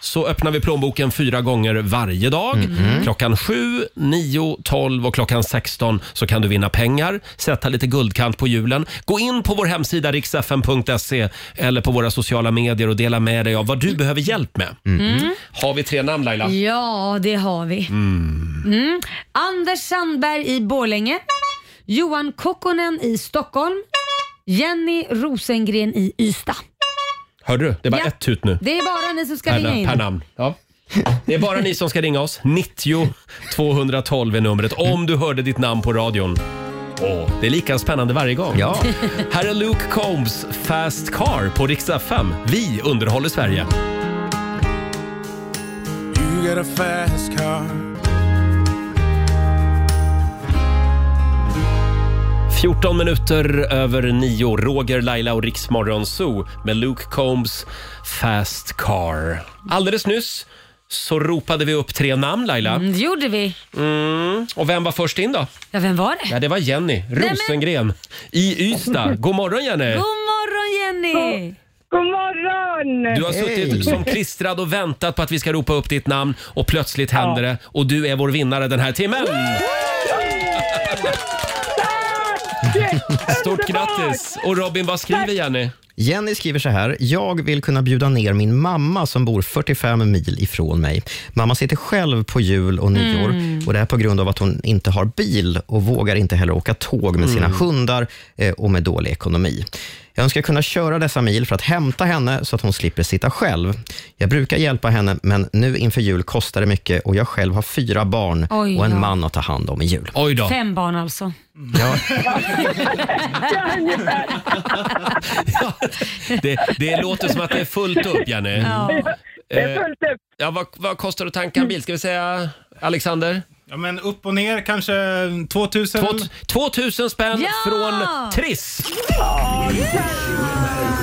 så öppnar vi plånboken fyra gånger varje dag. Klockan 7, 9, 12 och klockan 16 så kan du vinna pengar, sätta lite guldkant på hjulen. Gå in på vår hemsida riksfn.se eller på våra sociala medier och dela med dig av vad du behöver hjälp med. Mm. Har vi tre namn Laila? Ja, det har vi. Mm. Mm. Anders Sandberg i Borlänge. Johan Kokkonen i Stockholm. Jenny Rosengren i Ystad. Hörde du? Det är bara Ja. ett tut nu. Det är bara ni som ska per, ringa in. per namn. Ja. Det är bara ni som ska ringa oss. 90 212 är numret om du hörde ditt namn på radion. Åh, det är lika spännande varje gång. Ja. Här är Luke Combs Fast Car på riksdag 5. Vi underhåller Sverige. You got a fast car 14 minuter över nio. Roger, Laila och Riksmorgon Zoo med Luke Combs Fast Car. Alldeles nyss så ropade vi upp tre namn, Laila. *laughs* Mm, det gjorde vi. Mm. Och vem var först in då? Ja, vem var det? Ja, det var Jenny Rosengren i Ystad. God morgon Jenny! God morgon Jenny! God, morgon! Du har suttit som klistrad och väntat på att vi ska ropa upp ditt namn och plötsligt händer det och du är vår vinnare den här timmen. Stort grattis! Och Robin, vad skriver Jenny? Jenny skriver så här. Jag vill kunna bjuda ner min mamma som bor 45 mil ifrån mig. Mamma sitter själv på jul och nyår Mm. och det är på grund av att hon inte har bil och vågar inte heller åka tåg med sina Mm. hundar eh, och med dålig ekonomi. Jag önskar kunna köra dessa mil för att hämta henne så att hon slipper sitta själv. Jag brukar hjälpa henne, men nu inför jul kostar det mycket och jag själv har fyra barn Oj och en då. man att ta hand om i jul. Oj Fem barn alltså. Ja, Det, det låter som att det är fullt upp Eh, Jenny. Ja. Det är fullt upp. Ja, vad, vad kostar det att tanka en bil? Ska vi säga Alexander? Ja, men upp och ner kanske 2000? Två, 2000 spänn från Triss. Merry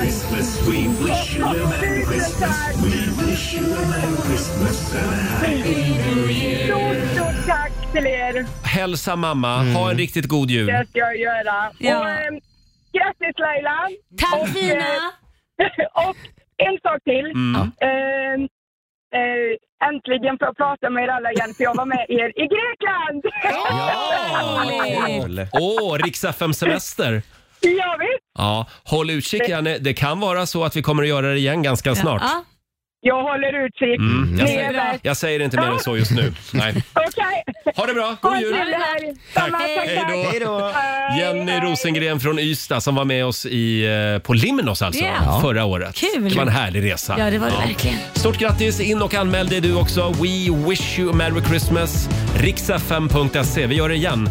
Christmas, we wish you a Merry Christmas, we wish you a Merry Christmas and a Happy New Year. Stort tack till er. Hälsa mamma, ha en riktigt god jul. Det ska jag göra. Ja. Och, ehm, grattis Laila. Tack och, fina. eh, *laughs* och en sak till. Mm. Ehm, eh, äntligen får jag prata med er alla igen för jag var med er i Grekland. Åh, riks semester *laughs* ja visst. Ja, håll utkik Janne. Det kan vara så att vi kommer att göra det igen ganska snart. Jag håller utkik. Mm. Ni Jag, är säger, bäst. jag säger inte mer än så just nu. Nej. Okej. Ha det bra. God jul. Tack. Hej då. Jenny Rosengren från Ystad som var med oss i, eh, på Limnos alltså, Ja. förra året. Kul. Det var en härlig resa. Ja, det var det verkligen. Stort grattis! In och anmäl dig du också. We wish you a merry Christmas. Riksfm.se. E. Vi gör det igen.